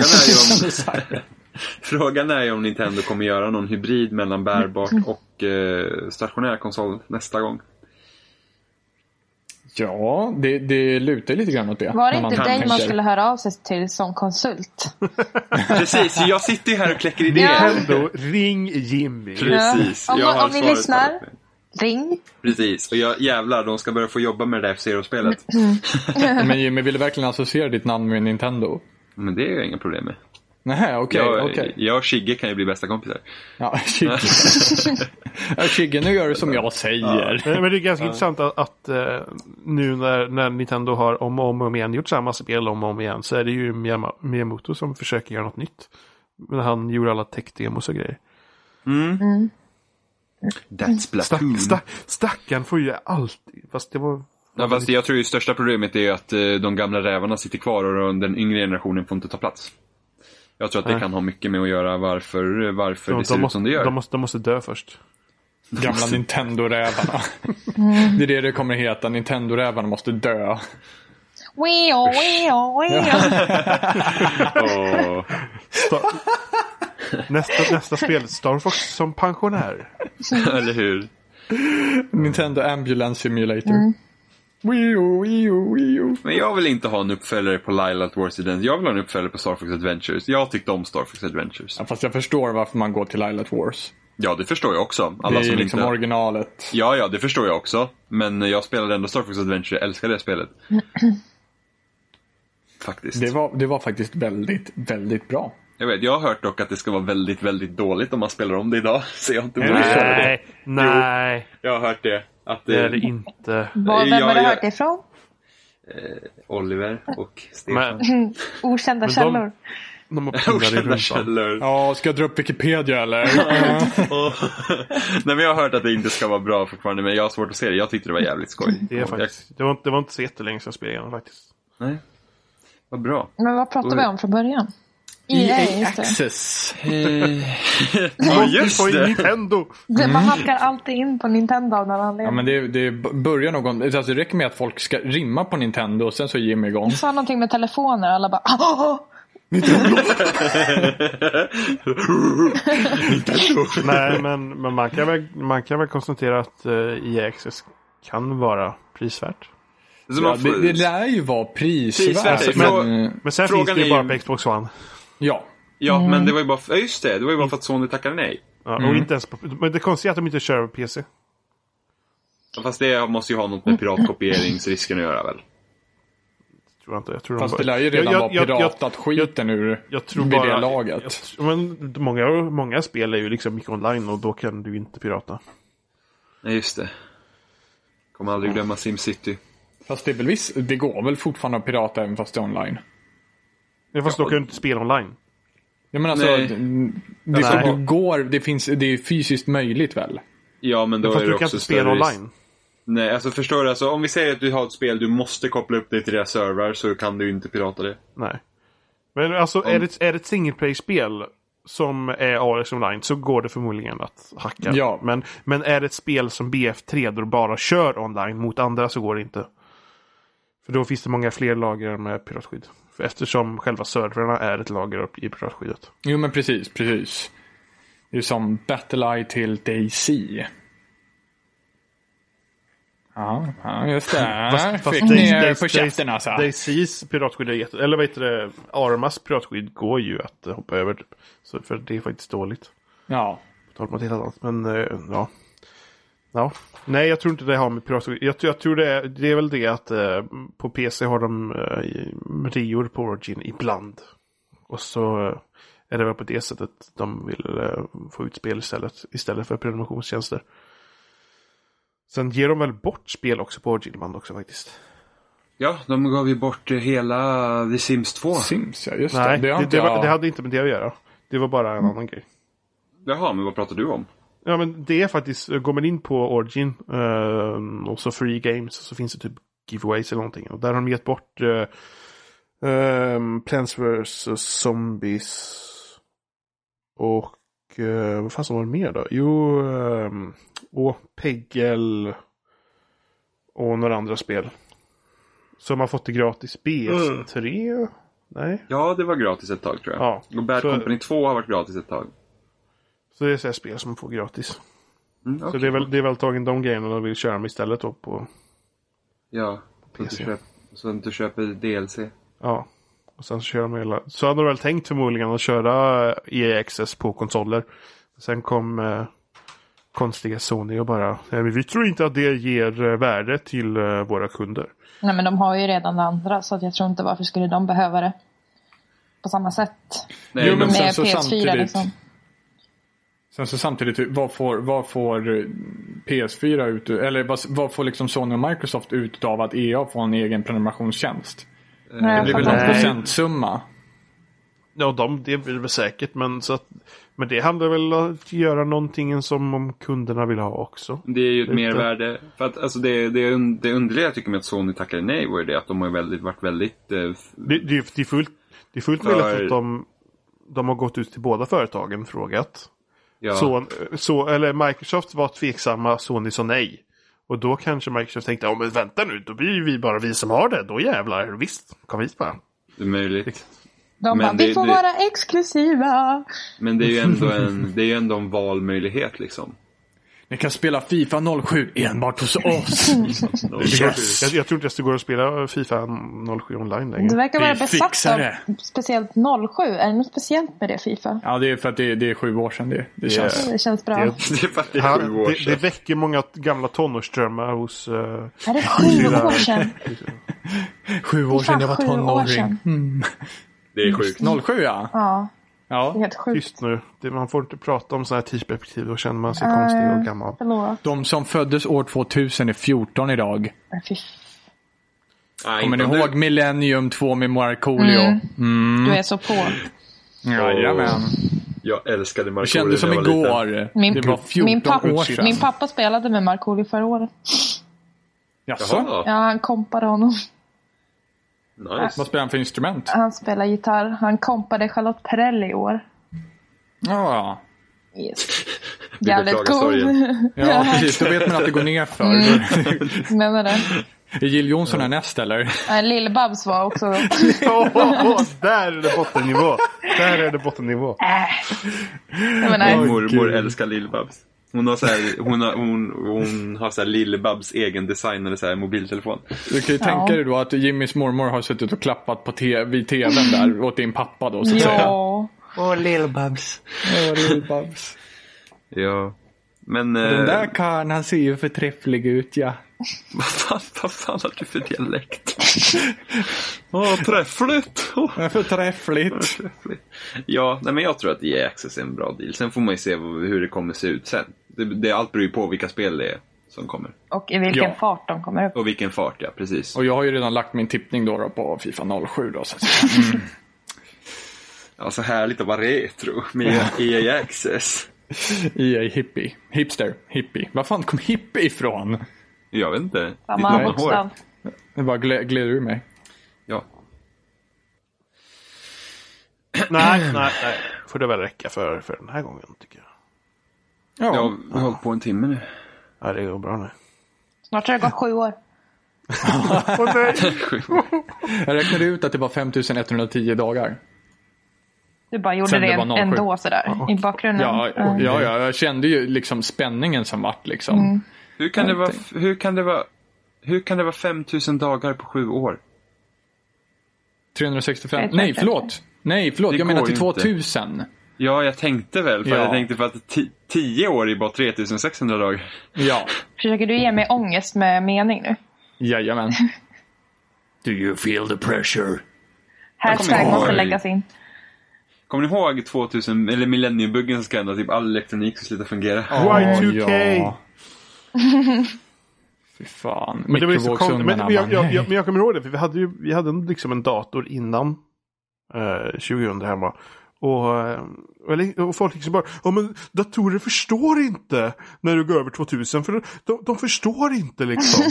Speaker 1: Siren.
Speaker 4: Frågan är ju om,
Speaker 2: Så här.
Speaker 4: frågan är ju om Nintendo kommer göra någon hybrid mellan Mm. bärbart och eh, stationär konsol nästa gång.
Speaker 2: Ja, det, det lutar ju lite grann åt det.
Speaker 3: Var det
Speaker 2: när man
Speaker 3: inte dig man
Speaker 2: tänker.
Speaker 3: skulle höra av sig till som konsult?
Speaker 4: Precis, jag sitter ju här och kläcker idéer.
Speaker 3: Ja.
Speaker 1: Nintendo, ring Jimmy.
Speaker 4: Precis,
Speaker 3: Ja. Om-
Speaker 4: jag har
Speaker 3: om ni
Speaker 4: svaret
Speaker 3: lyssnar.
Speaker 4: på det.
Speaker 3: Ring.
Speaker 4: Precis, och jag jävlar, de ska börja få jobba med det där F-Zero-spelet.
Speaker 2: Men Jimmy, vill du verkligen associera ditt namn med Nintendo?
Speaker 4: Men det är jag inga problem med.
Speaker 2: Nej, okej,
Speaker 4: jag,
Speaker 2: okej.
Speaker 4: jag och Shigge kan ju bli bästa kompisar.
Speaker 2: Ja, Shigge. Ja, Shigge, nu gör du som jag säger.
Speaker 1: Nej, Eh, Men det är ganska intressant att, att eh, nu när, när Nintendo har om och om, och om igen gjort samma spel om och om igen så är det ju Miyama- Miyamoto som försöker göra något nytt. Men han gjorde alla tech-demos och grejer.
Speaker 4: That's
Speaker 1: Mm. Stack,
Speaker 4: Platoon.
Speaker 1: stack, stackaren får ju alltid, fast det var...
Speaker 4: Ja, fast jag tror ju största problemet är att eh, de gamla rävarna sitter kvar och den yngre generationen får inte ta plats. Jag tror att det
Speaker 1: Nej.
Speaker 4: kan ha mycket med att göra varför, varför det ser ut
Speaker 1: måste,
Speaker 4: som det gör.
Speaker 1: de, måste, de måste dö först.
Speaker 2: Gamla Nintendo-rävarna.
Speaker 3: Mm.
Speaker 2: Det är det det kommer heta. Nintendo-rävarna måste dö.
Speaker 3: Weo, weo, weo.
Speaker 4: Åh.
Speaker 1: Star- nästa, nästa spel, Star Fox som pensionär.
Speaker 4: Eller hur?
Speaker 2: Nintendo Ambulance Simulator.
Speaker 3: Mm.
Speaker 2: Wii-o, Wii-o, Wii-o.
Speaker 4: Men jag vill inte ha en uppföljare på Lyle at War Students. Jag vill ha en uppföljare på Star Fox Adventures. Jag tyckte om Star Fox Adventures.
Speaker 2: Ja, fast jag förstår varför man går till Islet Wars.
Speaker 4: Ja, det förstår jag också.
Speaker 2: Det
Speaker 4: Alla
Speaker 2: är ju
Speaker 4: som
Speaker 2: liksom
Speaker 4: inte...
Speaker 2: originalet.
Speaker 4: Ja, ja, det förstår jag också. Men jag spelade ändå Star Fox Adventure. Jag älskar det spelet. Faktiskt.
Speaker 2: Det var, det var faktiskt väldigt, väldigt bra.
Speaker 4: Jag vet, jag har hört dock att det ska vara väldigt, väldigt dåligt om man spelar om det idag. Så jag har inte brytt mig över det.
Speaker 1: Nej, nej,
Speaker 4: Jag har hört det. Att
Speaker 1: det är det
Speaker 4: eh,
Speaker 1: inte.
Speaker 3: Var- Vem har
Speaker 4: Jag-
Speaker 3: du
Speaker 4: jag-
Speaker 3: hört det ifrån?
Speaker 4: Oliver och Stefan.
Speaker 1: Men
Speaker 3: Okända
Speaker 1: de-
Speaker 3: källor.
Speaker 1: de har pinnar i
Speaker 4: Okända
Speaker 1: rumpan.
Speaker 4: källor.
Speaker 2: Ja, ska jag dra upp Wikipedia eller?
Speaker 4: Och- Nej men jag har hört att det inte ska vara bra fortfarande men jag har svårt att se det. Jag tyckte det var jävligt skoj.
Speaker 1: Det, är faktiskt, det, var, inte- det var inte så jättelänge sedan jag spelade igenom faktiskt.
Speaker 4: Jag, nej. Vad bra.
Speaker 3: Men vad pratade vi om från början? EA, just det.
Speaker 2: Access.
Speaker 4: Ja
Speaker 1: På
Speaker 4: just det.
Speaker 1: Nintendo!
Speaker 3: det. Man hackar alltid in på Nintendo av någon
Speaker 2: Mm. Ja,
Speaker 3: anledning.
Speaker 2: men det, det börjar någon... Alltså, det räcker med att folk ska rimma på Nintendo och sen så är Jimmy igång.
Speaker 3: Du sa någonting med telefoner och alla bara "Ah, ah, ah."
Speaker 1: Nej, men, men man, kan väl, man kan väl konstatera att uh, EA Access kan vara prisvärt.
Speaker 4: Så
Speaker 2: Ja,
Speaker 4: man
Speaker 2: det, det
Speaker 4: får,
Speaker 2: lär ju vara
Speaker 4: Prisvärt,
Speaker 2: prisvärt. alltså,
Speaker 4: men-
Speaker 2: Men,
Speaker 1: Men sen
Speaker 4: Frågan
Speaker 1: finns det
Speaker 4: är
Speaker 1: ju bara
Speaker 4: ju-
Speaker 1: på Xbox One.
Speaker 2: ja.
Speaker 1: Mm.
Speaker 4: ja men det var ju bara för, ja, just det, det var ju bara för att Sony tackade nej.
Speaker 1: Ja, och inte ens på, men det konstiga är att de inte kör på PC.
Speaker 4: Fast det måste ju ha något
Speaker 1: Mm.
Speaker 4: med piratkopieringsrisken att göra väl?
Speaker 1: Tror jag, inte. jag tror de
Speaker 2: Fast
Speaker 1: bara-
Speaker 2: det lär ju redan
Speaker 1: jag,
Speaker 2: vara
Speaker 1: jag, jag,
Speaker 2: piratat skiten ur
Speaker 1: jag tror
Speaker 2: vid
Speaker 1: bara-
Speaker 2: det laget.
Speaker 1: jag tr- men många, många spel är ju liksom mycket online och då kan du inte pirata.
Speaker 4: Nej just det. Kommer aldrig glömma SimCity.
Speaker 2: Fast det, är väl visst, det går väl fortfarande att pirata även fast det är online?
Speaker 1: Ja, fast då kan du inte spela online.
Speaker 2: Jag menar alltså,
Speaker 4: Nej.
Speaker 2: det, det, som
Speaker 1: Nej.
Speaker 2: du går, det, finns, det är fysiskt möjligt väl?
Speaker 4: Ja men då
Speaker 1: Fast
Speaker 4: är det
Speaker 1: du kan
Speaker 4: också
Speaker 1: inte spela
Speaker 4: större risk.
Speaker 1: online.
Speaker 4: Nej, alltså förstår du? Alltså, om vi säger att du har ett spel, du måste koppla upp det till deras servrar så kan du inte pirata det.
Speaker 1: Nej. Men alltså är det, är det ett single play spel som är AS online så går det förmodligen att hacka.
Speaker 2: Ja.
Speaker 1: Men, men är det ett spel som BF3 då du bara kör online mot andra så går det inte. För då finns det många fler lager med piratskydd. För eftersom själva servrarna är ett lager upp i piratskyddet.
Speaker 2: Jo men precis, precis. Det är som Battle Eye till DayZ. Ja, ja, just det. Här fick ni er på käften alltså.
Speaker 1: DayZs piratskydd är jätte... Eller vad heter det? Armas piratskydd går ju att eh, hoppa över. Typ. Så, för det är faktiskt dåligt.
Speaker 2: Ja.
Speaker 1: tal om något helt annat. Men eh, ja. ja. Nej, jag tror inte det har med piratskog. Jag, tror- jag tror det är, det är väl det att eh, på PC har de eh, rior på Origin ibland. Och så eh, är det väl på det sättet de vill eh, få ut spel istället. Istället för prenumerationstjänster. Sen ger de väl bort spel också på Origin ibland också faktiskt.
Speaker 4: Ja, de gav ju bort eh, hela The Sims 2.
Speaker 2: Sims ja, just
Speaker 1: Nej,
Speaker 2: det.
Speaker 1: det,
Speaker 2: Det har
Speaker 1: det,
Speaker 2: inte Mm.
Speaker 1: var,
Speaker 2: jag...
Speaker 1: det hade inte med det att göra. Det var bara en annan grej.
Speaker 4: Jaha, men vad pratar du om?
Speaker 1: Ja men det är faktiskt, eh, går man in på Origin eh, och så Free Games så finns det typ giveaways eller någonting. Och där har de gett bort eh, eh, Plants vs Zombies. Och eh, vad fan som var det mer då? Jo, eh, och Peggle. Och några andra spel. Som har fått det gratis. BS3? Nej?
Speaker 4: Ja, det var gratis ett tag tror jag.
Speaker 1: Ja,
Speaker 4: Och Bad
Speaker 1: så-
Speaker 4: Company 2 har varit gratis ett tag.
Speaker 1: Så det är så här spel som man får gratis.
Speaker 4: Mm,
Speaker 1: Så
Speaker 4: okej.
Speaker 1: det är väl, det är väl tagen de grejerna de vill köra med istället då på
Speaker 4: Ja, så att, du
Speaker 1: PC.
Speaker 4: köper, så att du köper DLC.
Speaker 1: Ja. Och sen så kör de hela... Så hade de väl tänkt förmodligen att köra eh, EA Access på konsoler. Sen kom eh, konstiga Sony och bara... Nej, men vi tror inte att det ger eh, värde till eh, våra kunder.
Speaker 3: Nej men de har ju redan det andra så att jag tror inte varför skulle de behöva det. På samma sätt.
Speaker 4: Nej,
Speaker 2: Jo, men
Speaker 4: men,
Speaker 2: sen
Speaker 3: Med
Speaker 2: så
Speaker 3: PS4
Speaker 2: samtidigt- eh,
Speaker 3: liksom.
Speaker 2: Sen så samtidigt, vad får, vad får eh, PS4 ut, eller vad, vad får liksom Sony och Microsoft ut av att EA får en egen prenumerationstjänst?
Speaker 3: Nej,
Speaker 2: Det blir väl
Speaker 3: jag
Speaker 1: Nej.
Speaker 2: en
Speaker 3: fattar inte.
Speaker 2: procentsumma?
Speaker 1: Ja, de, det blir det väl säkert. Men, så att, men det handlar väl om att göra någonting som om kunderna vill ha också.
Speaker 4: det är ju ett
Speaker 1: Lite.
Speaker 4: mervärde. För att, alltså det, det, un- det underliga jag tycker med att Sony tackade nej var ju det att de har ju väldigt, varit väldigt... Eh, f-
Speaker 1: Det, det, är- det är fullt, det är fullt
Speaker 4: För-
Speaker 1: möjligt att de, de har gått ut till båda företagen och frågat.
Speaker 4: ja,
Speaker 1: Så, så, eller Microsoft var tveksamma, Sony sa nej. Och då kanske Microsoft tänkte, ja men vänta nu, då blir ju vi bara vi som har det. Då jävlar, visst, kom hit bara.
Speaker 4: det är möjligt.
Speaker 3: De
Speaker 4: Men
Speaker 3: bara,
Speaker 4: det-
Speaker 3: vi får
Speaker 4: det-
Speaker 3: vara exklusiva.
Speaker 4: Men det är ju ändå en, det är ju ändå en valmöjlighet liksom.
Speaker 2: Ni kan spela Fifa 07 enbart hos oss. Yes.
Speaker 1: Jag, jag tror inte ens det går att spela Fifa 07 online längre.
Speaker 3: Du verkar
Speaker 2: Vi
Speaker 3: vara besatt
Speaker 2: fixar
Speaker 3: av
Speaker 2: det.
Speaker 3: speciellt 07. Är det något speciellt med det Fifa?
Speaker 2: Ja, det är för att det, det är sju år sedan det, Eh, det känns.
Speaker 3: Det känns bra.
Speaker 1: Det-
Speaker 4: Det är faktiskt
Speaker 1: Han,
Speaker 4: sju år
Speaker 1: det, det
Speaker 4: sedan.
Speaker 1: väcker många t- gamla tonårsdrömmar hos... eh,
Speaker 3: Är det sju år sedan?
Speaker 2: Sju år
Speaker 3: Fan,
Speaker 2: sedan jag var
Speaker 3: sju år
Speaker 2: tonåring.
Speaker 3: sedan.
Speaker 2: Mm.
Speaker 4: Det är sjukt.
Speaker 2: 07 ja.
Speaker 3: Ja, det är
Speaker 2: ja.
Speaker 3: helt sjukt.
Speaker 1: tyst nu. Det, man får inte prata om sådana här tidsperspektiv. Då känner man sig
Speaker 3: Ah,
Speaker 1: konstig
Speaker 3: ja.
Speaker 1: och gammal.
Speaker 3: Förlåt.
Speaker 2: De som föddes år 2000 är 14 idag.
Speaker 3: Nej, fy.
Speaker 4: Nej,
Speaker 2: Kommer ni
Speaker 4: inte om
Speaker 2: ihåg
Speaker 4: du-
Speaker 2: Millennium 2 med Markoolio?
Speaker 3: Mm.
Speaker 2: Mm.
Speaker 3: Du är så på.
Speaker 2: Jajamän.
Speaker 4: Jag älskade
Speaker 2: Det
Speaker 4: Markoolio
Speaker 2: kändes som
Speaker 4: när jag var liten.
Speaker 2: igår.
Speaker 3: Min-
Speaker 2: det var 14
Speaker 3: min, pappa,
Speaker 2: år sedan.
Speaker 3: min pappa spelade med Markoolio förra året.
Speaker 2: Jaså?
Speaker 4: Jaha,
Speaker 3: Ja, han kompade honom.
Speaker 4: nice.
Speaker 2: Vad spelar han för instrument?
Speaker 3: Han spelar gitarr. Han kompade Charlotte Perrelli i år.
Speaker 2: Ja,
Speaker 3: Yes.
Speaker 4: Vi
Speaker 3: Jävligt
Speaker 4: beklagar
Speaker 3: cool.
Speaker 4: sorgen.
Speaker 2: ja precis. Då vet man att det går ner för.
Speaker 3: Mm. Menar det.
Speaker 2: Är Jill Johnson härnäst eller?
Speaker 3: Nej, Lill-Babs var också...
Speaker 1: Åh, där är det bottennivå. Där är det bottennivå.
Speaker 3: Jag
Speaker 4: Min
Speaker 3: menar,
Speaker 4: mormor
Speaker 1: gud.
Speaker 4: älskar Lill-Babs. Hon har, så här, hon har, hon, hon har så här Lill-Babs egen designade så här mobiltelefon.
Speaker 2: Du kan ju tänka dig då att Jimmys mormor har suttit och klappat på te- vid tvn där åt din pappa då så att säga.
Speaker 3: ja.
Speaker 4: Åh, Lill-Babs.
Speaker 2: Ja, Lill-Babs.
Speaker 4: Ja. Men...
Speaker 2: Den
Speaker 4: eh,
Speaker 2: där karln han ser ju förträfflig ut ja.
Speaker 4: Vad fan, vad fan har du för dialekt? Åh, träffligt! Åh,
Speaker 2: Men Förträffligt.
Speaker 4: träffligt. Ja, nej men jag tror att EA Access är en bra deal. Sen får man ju se vad- hur det kommer se ut sen. Det, det, allt beror ju på vilka spel det är som kommer.
Speaker 3: Och i vilken
Speaker 2: Ja.
Speaker 3: fart de kommer upp.
Speaker 4: Och vilken fart, ja. Precis.
Speaker 2: Och jag har ju redan lagt min tippning då, då på Fifa 07 då så att säga.
Speaker 4: Alltså härligt att vara retro med E EA Access.
Speaker 2: EA hippie. Hipster. Hippie. Var fan kom hippie ifrån?
Speaker 4: Jag vet inte. Ditt
Speaker 3: Samma
Speaker 4: långa hår.
Speaker 3: bokstav.
Speaker 2: Det bara gled, gled ur mig.
Speaker 4: Ja.
Speaker 1: Nej, nej, nej. Får det väl räcka för, för den här gången tycker jag.
Speaker 2: Ja.
Speaker 4: Jag har hållit på en timme nu.
Speaker 1: Ja, det går bra nu.
Speaker 3: Snart har det gått sju år.
Speaker 1: Åh nej!
Speaker 2: Jag räknade ut att det var 5110 dagar.
Speaker 3: Du bara gjorde
Speaker 2: Sen
Speaker 3: det,
Speaker 2: det var 07.
Speaker 3: ändå sådär i bakgrunden.
Speaker 2: Ja, ja,
Speaker 3: Mm.
Speaker 2: ja, jag kände ju liksom spänningen som vart liksom.
Speaker 4: Hur kan det vara, hur kan det vara, hur kan det vara 5000 dagar på sju år?
Speaker 2: 365.
Speaker 3: Vet
Speaker 2: Nej,
Speaker 3: inte.
Speaker 2: förlåt. Nej, förlåt.
Speaker 4: Det
Speaker 2: jag menar
Speaker 4: går
Speaker 2: till
Speaker 4: ju inte.
Speaker 2: 2000.
Speaker 4: Ja, jag tänkte väl. För
Speaker 2: Ja.
Speaker 4: Jag tänkte för att ti- 10 år är bara 3600 dagar.
Speaker 2: Ja,
Speaker 3: Försöker du ge mig ångest med mening nu?
Speaker 2: jajamän.
Speaker 5: Do you feel the pressure?
Speaker 4: kommer
Speaker 3: Hashtag
Speaker 4: ihåg.
Speaker 3: måste läggas in.
Speaker 4: Kommer ni ihåg 2000, eller millenniebuggen som ska ändra typ all elektronik ska sluta fungera?
Speaker 1: Y2K.
Speaker 2: Ja. Fy fan.
Speaker 1: Men det var ju så konstigt. Men,
Speaker 2: Mikrovågsugnarna.
Speaker 1: men, jag, jag, jag,
Speaker 2: nej.
Speaker 1: men jag kommer ihåg det, för vi hade ju vi hade en- liksom en dator innan eh, 2000 hemma. Och, eh, eller- och folk liksom bara, ja men datorer förstår inte när du går över 2000, för de, de förstår inte liksom.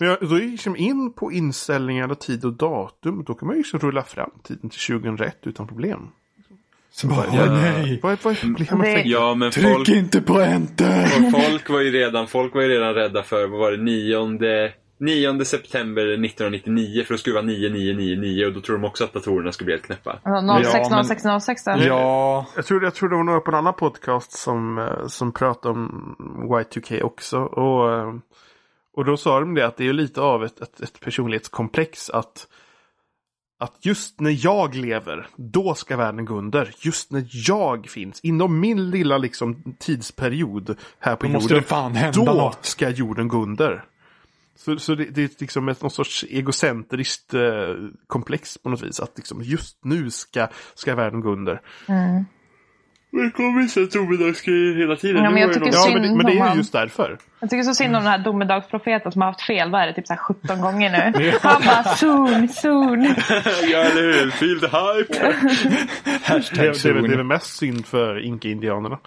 Speaker 1: men jag, då gick jag liksom in på inställningar, och tid och datum, då kan man ju liksom rulla fram tiden till 2001 utan problem.
Speaker 2: Så bara,
Speaker 4: Ja.
Speaker 2: åh, nej.
Speaker 1: Vad, vad är problemet?
Speaker 3: Det-
Speaker 4: Ja, men folk,
Speaker 2: Tryck inte på enter.
Speaker 4: folk, var ju redan, folk var ju redan rädda för, vad var det, 9, 9 september 1999 för att skruva 9999 och då tror de också att datorerna skulle bli helt knäppa.
Speaker 3: Alltså, 06,
Speaker 2: Ja, men-
Speaker 3: 06, 06 där.
Speaker 2: Ja.
Speaker 1: Jag tror, jag tror det var några på en annan podcast som, eh, som pratade om Y2K också. Och, eh, Och då sa de det att det är ju lite av ett, ett, ett personlighetskomplex att att just när jag lever, då ska världen gå under. Just när jag finns, inom min lilla liksom, tidsperiod här på
Speaker 2: Då
Speaker 1: jorden,
Speaker 2: måste det fan hända
Speaker 1: då
Speaker 2: något.
Speaker 1: ska jorden gå under. Så, så det, det är liksom ett någon sorts egocentriskt eh, komplex på något vis. Att liksom just nu ska, ska världen gå under.
Speaker 3: Mm.
Speaker 4: Det kommer vissa domedagsgrejer hela tiden.
Speaker 3: Ja, men jag tycker
Speaker 1: Ja,
Speaker 3: synd
Speaker 1: men det, men det är
Speaker 3: om
Speaker 1: ju just därför.
Speaker 3: Jag tycker så synd om den här domedagsprofeten som har haft fel, vad är det, typ så här 17 gånger nu. Han bara soon, soon.
Speaker 4: Ja, eller hur? Feel the hype!
Speaker 1: Det, är- det, är väl- det är väl mest synd för inka-indianerna.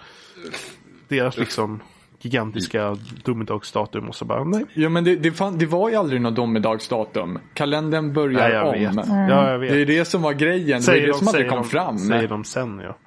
Speaker 1: Deras liksom gigantiska domedagsstatum och så bara nej.
Speaker 2: Ja, men det, det, fan, det var ju aldrig något domedagsdatum. Kalendern börjar
Speaker 1: nej jag
Speaker 2: om.
Speaker 1: vet.
Speaker 3: Mm.
Speaker 1: Ja, jag vet.
Speaker 2: Det är det som var grejen. Det är det som aldrig kom
Speaker 1: de,
Speaker 2: fram.
Speaker 1: Säger de sen ja.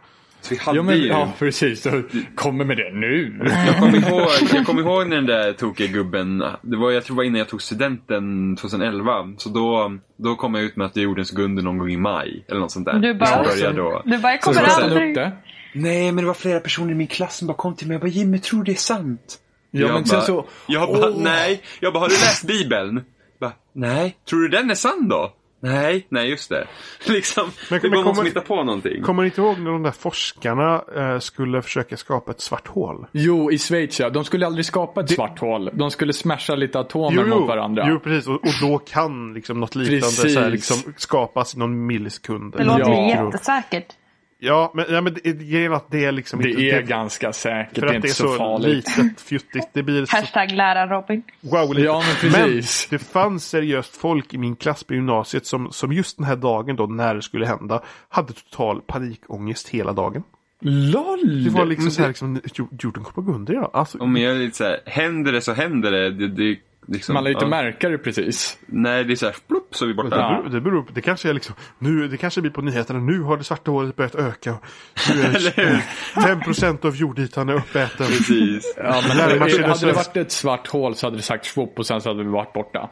Speaker 4: Vi hade
Speaker 2: Ja, men,
Speaker 4: ju...
Speaker 2: ja, precis. Så Kommer med det nu.
Speaker 4: Jag kommer ihåg, jag kommer ihåg när den där tokiga gubben, det var, jag tror det var innan jag tog studenten 2011. Så då, då kom jag ut med att jorden skulle gå under någon gång i maj. Eller något sånt där.
Speaker 3: Du bara-
Speaker 4: Jag började då.
Speaker 3: Du bara, jag
Speaker 2: Så
Speaker 3: kommer
Speaker 2: satte han upp
Speaker 3: aldrig.
Speaker 2: det.
Speaker 4: Nej, men det var flera personer i min klass som bara kom till mig och bara Jimmy, tror du det är sant?
Speaker 2: Ja, men sen så...
Speaker 4: Jag bara,
Speaker 2: Åh.
Speaker 4: nej. Jag bara, har du läst bibeln? Jag Bara, nej. Tror du den är sann då? Nej, nej just det. Liksom,
Speaker 1: Men-
Speaker 4: det
Speaker 1: men
Speaker 4: var någon som
Speaker 1: kommer-
Speaker 4: hittade på någonting.
Speaker 1: Kommer ni inte ihåg när de där forskarna eh, skulle försöka skapa ett svart hål?
Speaker 2: Jo, i Schweiz ja. De skulle aldrig skapa ett svart hål. De skulle smasha lite atomer mot varandra.
Speaker 1: jo precis. Och, och då kan liksom något liknande så här,
Speaker 2: Precis.
Speaker 1: liksom, skapas i någon millisekund.
Speaker 3: Det låter
Speaker 2: Ja.
Speaker 3: ju jättesäkert.
Speaker 1: Ja, men, ja, men det, grejen är att det är liksom
Speaker 2: Det
Speaker 1: inte...
Speaker 2: är ganska säkert.
Speaker 1: för
Speaker 2: Det är
Speaker 1: att
Speaker 2: inte så, farligt.
Speaker 1: litet, fjuttigt. Det blir så
Speaker 3: Hashtag lärarrobin.
Speaker 1: Wow, lite.
Speaker 2: Ja, men precis.
Speaker 1: Men det fanns seriöst folk i min klass på gymnasiet som, som just den här dagen då, när det skulle hända, hade total panikångest hela dagen.
Speaker 2: LOL! Mm.
Speaker 1: Det var liksom så här, liksom, jord- jorden kommer att gå under idag. Alltså,
Speaker 4: Om jag är lite så här, händer det så händer det. det, det liksom,
Speaker 2: Man lär inte
Speaker 4: ja.
Speaker 2: märka det precis.
Speaker 4: Nej, det är så här, plopp så är vi borta.
Speaker 1: Det beror, det beror på, det kanske är liksom, nu, det kanske blir på nyheterna, nu har det svarta hålet börjat öka. Nu är 5% av jordytan är uppäten.
Speaker 4: Precis.
Speaker 2: Ja, men
Speaker 1: Lärde man sig det
Speaker 2: hade det
Speaker 1: sen?
Speaker 2: varit ett svart hål så hade det sagt svopp och sen så hade vi varit borta.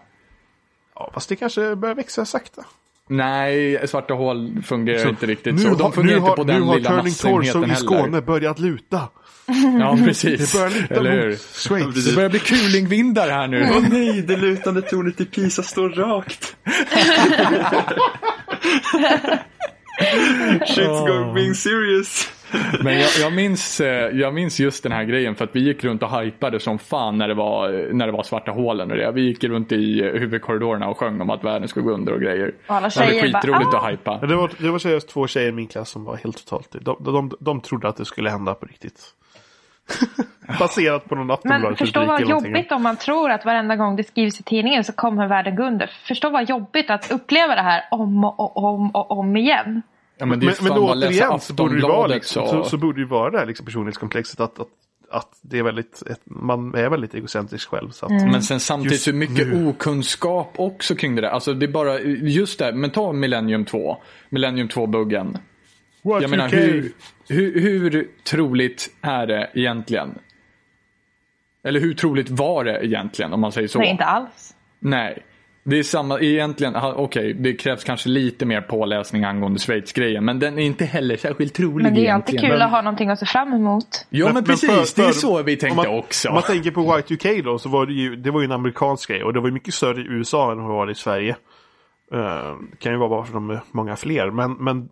Speaker 1: Ja, fast det kanske börjar växa sakta.
Speaker 2: Nej, svarta hål fungerar inte riktigt så.
Speaker 1: har-
Speaker 2: De fungerar
Speaker 1: nu
Speaker 2: inte på
Speaker 1: har, nu
Speaker 2: den
Speaker 1: har
Speaker 2: lilla
Speaker 1: Turning Torso
Speaker 2: massenheten
Speaker 1: i
Speaker 2: heller.
Speaker 1: Skåne börjat luta.
Speaker 2: Ja, precis.
Speaker 1: Det börjar luta
Speaker 2: Eller hur?
Speaker 1: mot Schweiz.
Speaker 2: Det börjar bli kulingvindar här nu.
Speaker 4: Åh nej, det lutande tornet i Pisa står rakt. Shit's going being serious.
Speaker 2: Men jag, jag, minns, eh, jag minns just den här grejen för att vi gick runt och hypade som fan när det var, när det var svarta hålen och det. Vi gick runt i eh, huvudkorridorerna och sjöng om att världen skulle gå under och grejer.
Speaker 3: Och alla
Speaker 2: det
Speaker 3: tjejer
Speaker 2: var
Speaker 3: bara,
Speaker 2: skitroligt
Speaker 3: "Ah!"
Speaker 2: att hypa.
Speaker 1: Ja, det, var, det var seriöst två tjejer i min klass som var helt totalt de, de, de, de trodde att det skulle hända på riktigt. Baserat på någon
Speaker 3: Men
Speaker 1: Aftonbladet-rubrik
Speaker 3: förstå vad
Speaker 1: eller någonting.
Speaker 3: jobbigt om man tror att varenda gång det skrivs i tidningen så kommer världen gå under. Förstå vad jobbigt att uppleva det här om och, och om och om igen.
Speaker 2: Ja, men det är
Speaker 1: Men,
Speaker 2: fan
Speaker 1: men då
Speaker 2: bara att läsa
Speaker 1: återigen så borde det ju vara,
Speaker 2: Aftonbladet
Speaker 1: liksom,
Speaker 2: och-
Speaker 1: så, så borde det ju vara det här liksom personlighetskomplexet att, att, att det är väldigt, ett, man är väldigt egocentrisk själv. Så att,
Speaker 3: Mm.
Speaker 2: Men sen samtidigt
Speaker 1: Just
Speaker 2: så mycket
Speaker 1: nu.
Speaker 2: okunskap också kring det där. Alltså det är bara, just det, men ta Millennium 2. Millennium 2-buggen.
Speaker 1: What
Speaker 2: Jag menar,
Speaker 1: you
Speaker 2: hur,
Speaker 1: can.
Speaker 2: hur, hur troligt är det egentligen? Eller hur troligt var det egentligen om man säger så?
Speaker 3: Nej, inte alls.
Speaker 2: Nej. Det är samma, egentligen, aha, okej, det krävs kanske lite mer påläsning angående Schweiz-grejen. Men den är inte heller särskilt trolig
Speaker 3: Men det är alltid
Speaker 2: egentligen.
Speaker 3: kul att ha någonting att se fram emot.
Speaker 2: Ja men, precis,
Speaker 1: för-
Speaker 2: det är
Speaker 1: för-
Speaker 2: så vi tänkte
Speaker 1: om man,
Speaker 2: också.
Speaker 1: Om man tänker på Y2K då, så var det ju, det var ju en amerikansk grej och det var ju mycket större i USA än vad det var i Sverige. Eh, Det kan ju vara bara för de är många fler, men, men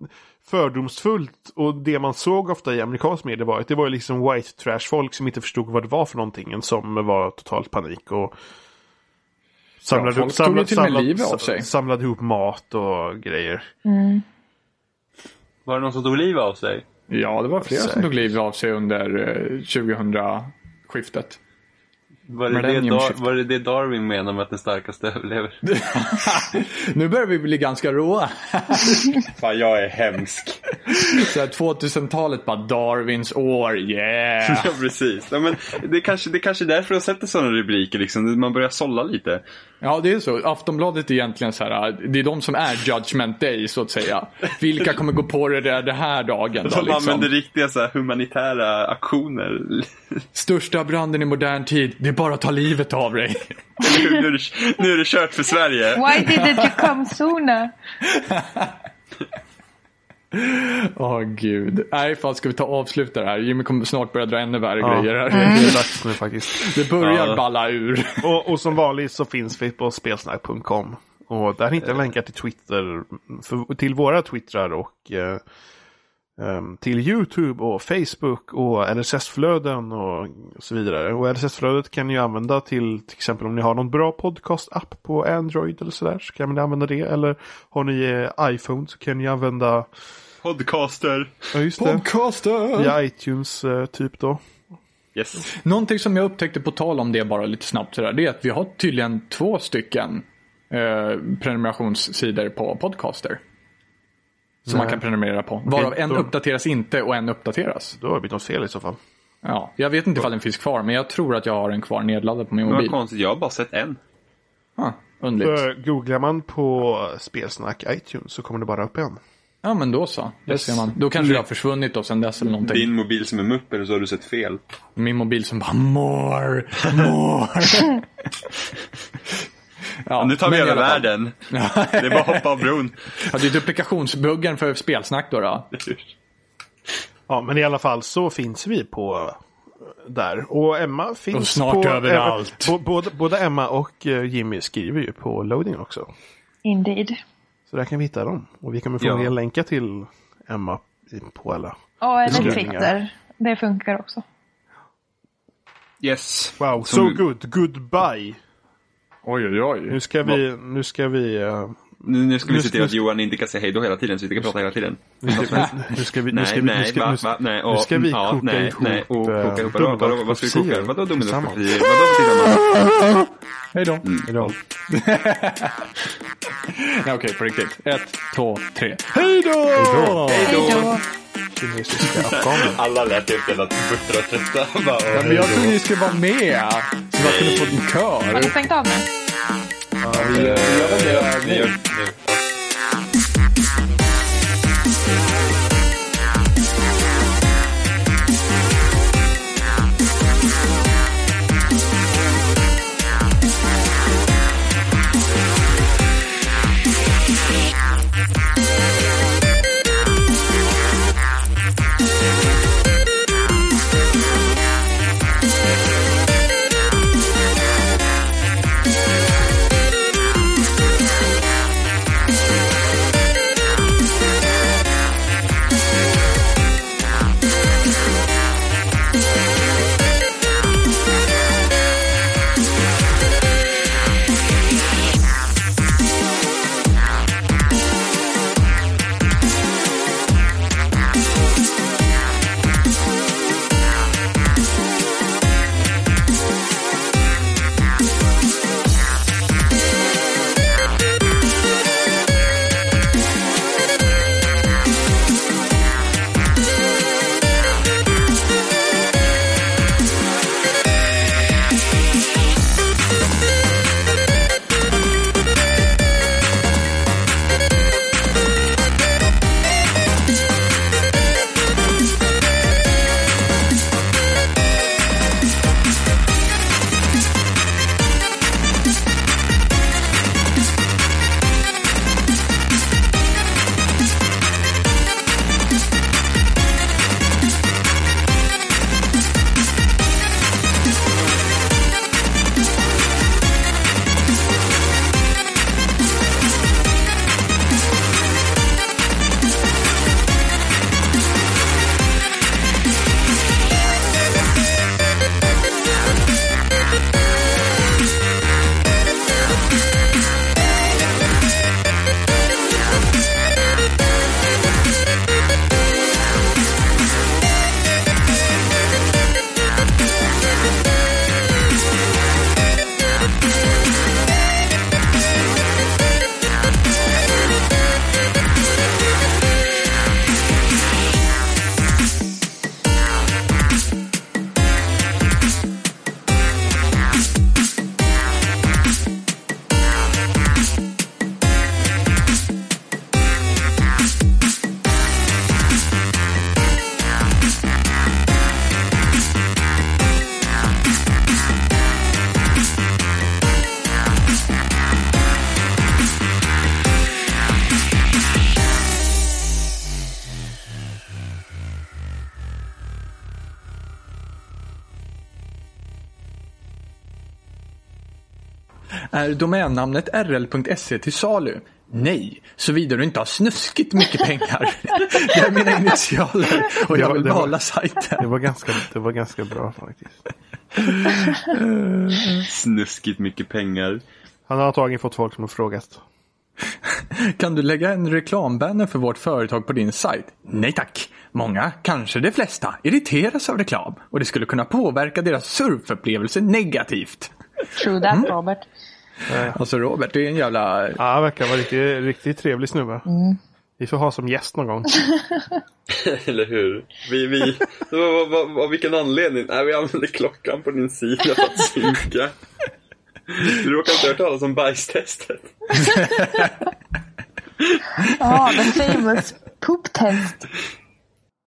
Speaker 1: fördomsfullt och det man såg ofta i amerikansk media var att det var ju liksom white trash folk som inte förstod vad det var för någonting som var totalt panik och samlade,
Speaker 2: folk
Speaker 1: upp,
Speaker 2: tog ju
Speaker 1: samlade,
Speaker 2: till och med
Speaker 1: samlade,
Speaker 2: livet av sig.
Speaker 1: samlade ihop mat och grejer.
Speaker 4: Var det någon som tog livet av sig?
Speaker 2: Ja, det var flera som tog livet av sig under eh, 2000-skiftet.
Speaker 4: Var det, det,
Speaker 2: Millennium
Speaker 4: Dar-
Speaker 2: Shift.
Speaker 4: var det det Darwin menar med att den starkaste överlever?
Speaker 2: nu börjar vi bli ganska råa.
Speaker 4: Fan, jag är hemsk.
Speaker 2: Så här 2000-talet bara Darwins år, yeah!
Speaker 4: ja, precis. Ja, men det, är kanske, det är kanske därför de sätter sådana rubriker. Liksom. Man börjar sålla lite.
Speaker 2: Ja, det är så. Aftonbladet är egentligen så här, eh, det är de som är judgment day så att säga. Vilka kommer gå på det där den här dagen då
Speaker 4: De
Speaker 2: liksom?
Speaker 4: använder riktiga så här, humanitära aktioner.
Speaker 2: Största branden i modern tid, det är bara att ta livet av dig.
Speaker 4: Eller hur? nu, är det, nu är det kört för Sverige.
Speaker 3: Why didn't you come sooner?
Speaker 2: Åh gud. Nej, fan ska vi ta och avsluta det här? Jimmy kommer snart börja dra ännu värre
Speaker 1: Ja, det
Speaker 2: grejer
Speaker 1: är- det
Speaker 2: här. Mm.
Speaker 1: är dags nu faktiskt.
Speaker 2: Det börjar
Speaker 4: Mm. Ja.
Speaker 2: balla ur.
Speaker 1: Och, och som vanligt så finns vi på spelsnack.com. Och där hittar ni länkar till Twitter, för, till våra twittrar och eh, ehm, till YouTube och Facebook och LSS-flöden och så vidare. Och LSS-flödet kan ni ju använda till till exempel om ni har någon bra podcast-app på Android eller sådär så kan ni använda det. Eller har ni eh, iPhone så kan ni använda,
Speaker 4: Podcaster.
Speaker 1: ja just det,
Speaker 2: Podcaster!
Speaker 1: via iTunes eh, typ då.
Speaker 4: Yes.
Speaker 2: Någonting som jag upptäckte på tal om det bara lite snabbt sådär, det är att vi har tydligen två stycken eh, prenumerationssidor på Podcaster. Som man kan prenumerera på. Varav en
Speaker 1: då-
Speaker 2: uppdateras inte och en uppdateras.
Speaker 1: Då har det blivit något fel i så fall.
Speaker 2: Ja, jag vet inte ifall den finns kvar, men jag tror att jag har en kvar nedladdad på min
Speaker 4: Vad
Speaker 2: mobil.
Speaker 4: konstigt, jag har bara sett en.
Speaker 2: Ah,
Speaker 4: Eh,
Speaker 2: underligt.
Speaker 1: För googlar man på Spelsnack iTunes så kommer det bara upp en.
Speaker 2: Ja, men då så. Där ser man. Då kanske det har försvunnit då sen dess eller någonting.
Speaker 4: Din mobil som är mupp eller så har du sett fel.
Speaker 2: Min mobil som bara more, more. ja,
Speaker 4: nu tar vi
Speaker 2: men i
Speaker 4: över
Speaker 2: alla fall.
Speaker 4: världen. Det är bara att hoppa av bron.
Speaker 2: Ja, det är duplikationsbuggen för spelsnack då. då.
Speaker 1: Ja, men i alla fall så finns vi på eh, där. Och Emma finns
Speaker 2: Och snart
Speaker 1: på...
Speaker 2: överallt.
Speaker 1: Eh, bo- både, både Emma och eh, Jimmy skriver ju på loading också.
Speaker 3: Indeed.
Speaker 1: Så där kan vi hitta dem. Och vi kommer få
Speaker 4: Ja.
Speaker 1: ja. länka till Emma i- på alla.
Speaker 3: Ja, eller
Speaker 1: Skrivningar.
Speaker 3: Twitter. Det funkar också.
Speaker 4: Yes.
Speaker 1: Wow, so
Speaker 4: Som-
Speaker 1: good, goodbye.
Speaker 2: Oj, oj, oj.
Speaker 1: Nu ska vi, nu ska vi, eh,
Speaker 4: Nu, nu ska vi
Speaker 1: Nu-
Speaker 4: se till
Speaker 1: nu-
Speaker 4: att Johan inte kan säga hej då hela tiden så vi inte kan prata hela tiden.
Speaker 1: nu ska vi, nu ska vi, nu
Speaker 4: Nej,
Speaker 1: ska vi, nu
Speaker 4: nej,
Speaker 1: ska,
Speaker 4: va,
Speaker 1: nu
Speaker 4: va,
Speaker 1: ska,
Speaker 4: nej.
Speaker 1: nu
Speaker 4: och-
Speaker 1: ska vi
Speaker 4: ja,
Speaker 1: koka
Speaker 4: nej,
Speaker 1: ihop
Speaker 4: nej, och koka
Speaker 1: eh,
Speaker 4: ihop. Vadå, vadå, vad ska vi koka?
Speaker 1: domedagsprofetior
Speaker 4: Vadå domedagsprofetior?
Speaker 1: tillsammans.
Speaker 4: Vadå tillsammans?
Speaker 2: Hej då.
Speaker 1: Hej då.
Speaker 2: Nej, okej, på riktigt. Ett, två, tre. Hej då!
Speaker 4: Hej då!
Speaker 1: Kinesiska afghaner.
Speaker 4: Alla lät helt jävla buttra och trötta. Bara,
Speaker 2: Ja, men jag trodde ni skulle vara med. Så man kunde få en
Speaker 3: Har
Speaker 2: kör.
Speaker 3: ni stängt av nu?
Speaker 4: Vi gör- nu.
Speaker 2: Är domännamnet rl.se till salu? Nej, såvida du inte har snuskigt mycket pengar. det är mina initialer och
Speaker 1: Det
Speaker 2: jag
Speaker 1: var-
Speaker 2: vill
Speaker 1: det var-
Speaker 2: behålla sajten.
Speaker 1: Det var ganska, det var ganska bra faktiskt.
Speaker 4: Snuskigt mycket pengar.
Speaker 1: Han har antagligen fått folk som har frågat.
Speaker 2: Kan du lägga en reklambanner för vårt företag på din sajt? Nej tack. Många, kanske de flesta, irriteras av reklam och det skulle kunna påverka deras surfupplevelse negativt.
Speaker 3: True that Robert.
Speaker 2: Alltså Robert, det är en jävla...
Speaker 1: Ja, han verkar vara riktigt, riktigt trevlig snubbe. Vi får ha som gäst någon gång.
Speaker 4: Eller hur? Vi, vi, vad, vad, vad, av vilken anledning? Nej, vi använder klockan på din sida för att synka. Du råkar inte ha hört talas om bajstestet?
Speaker 3: Ja, the famous poop test.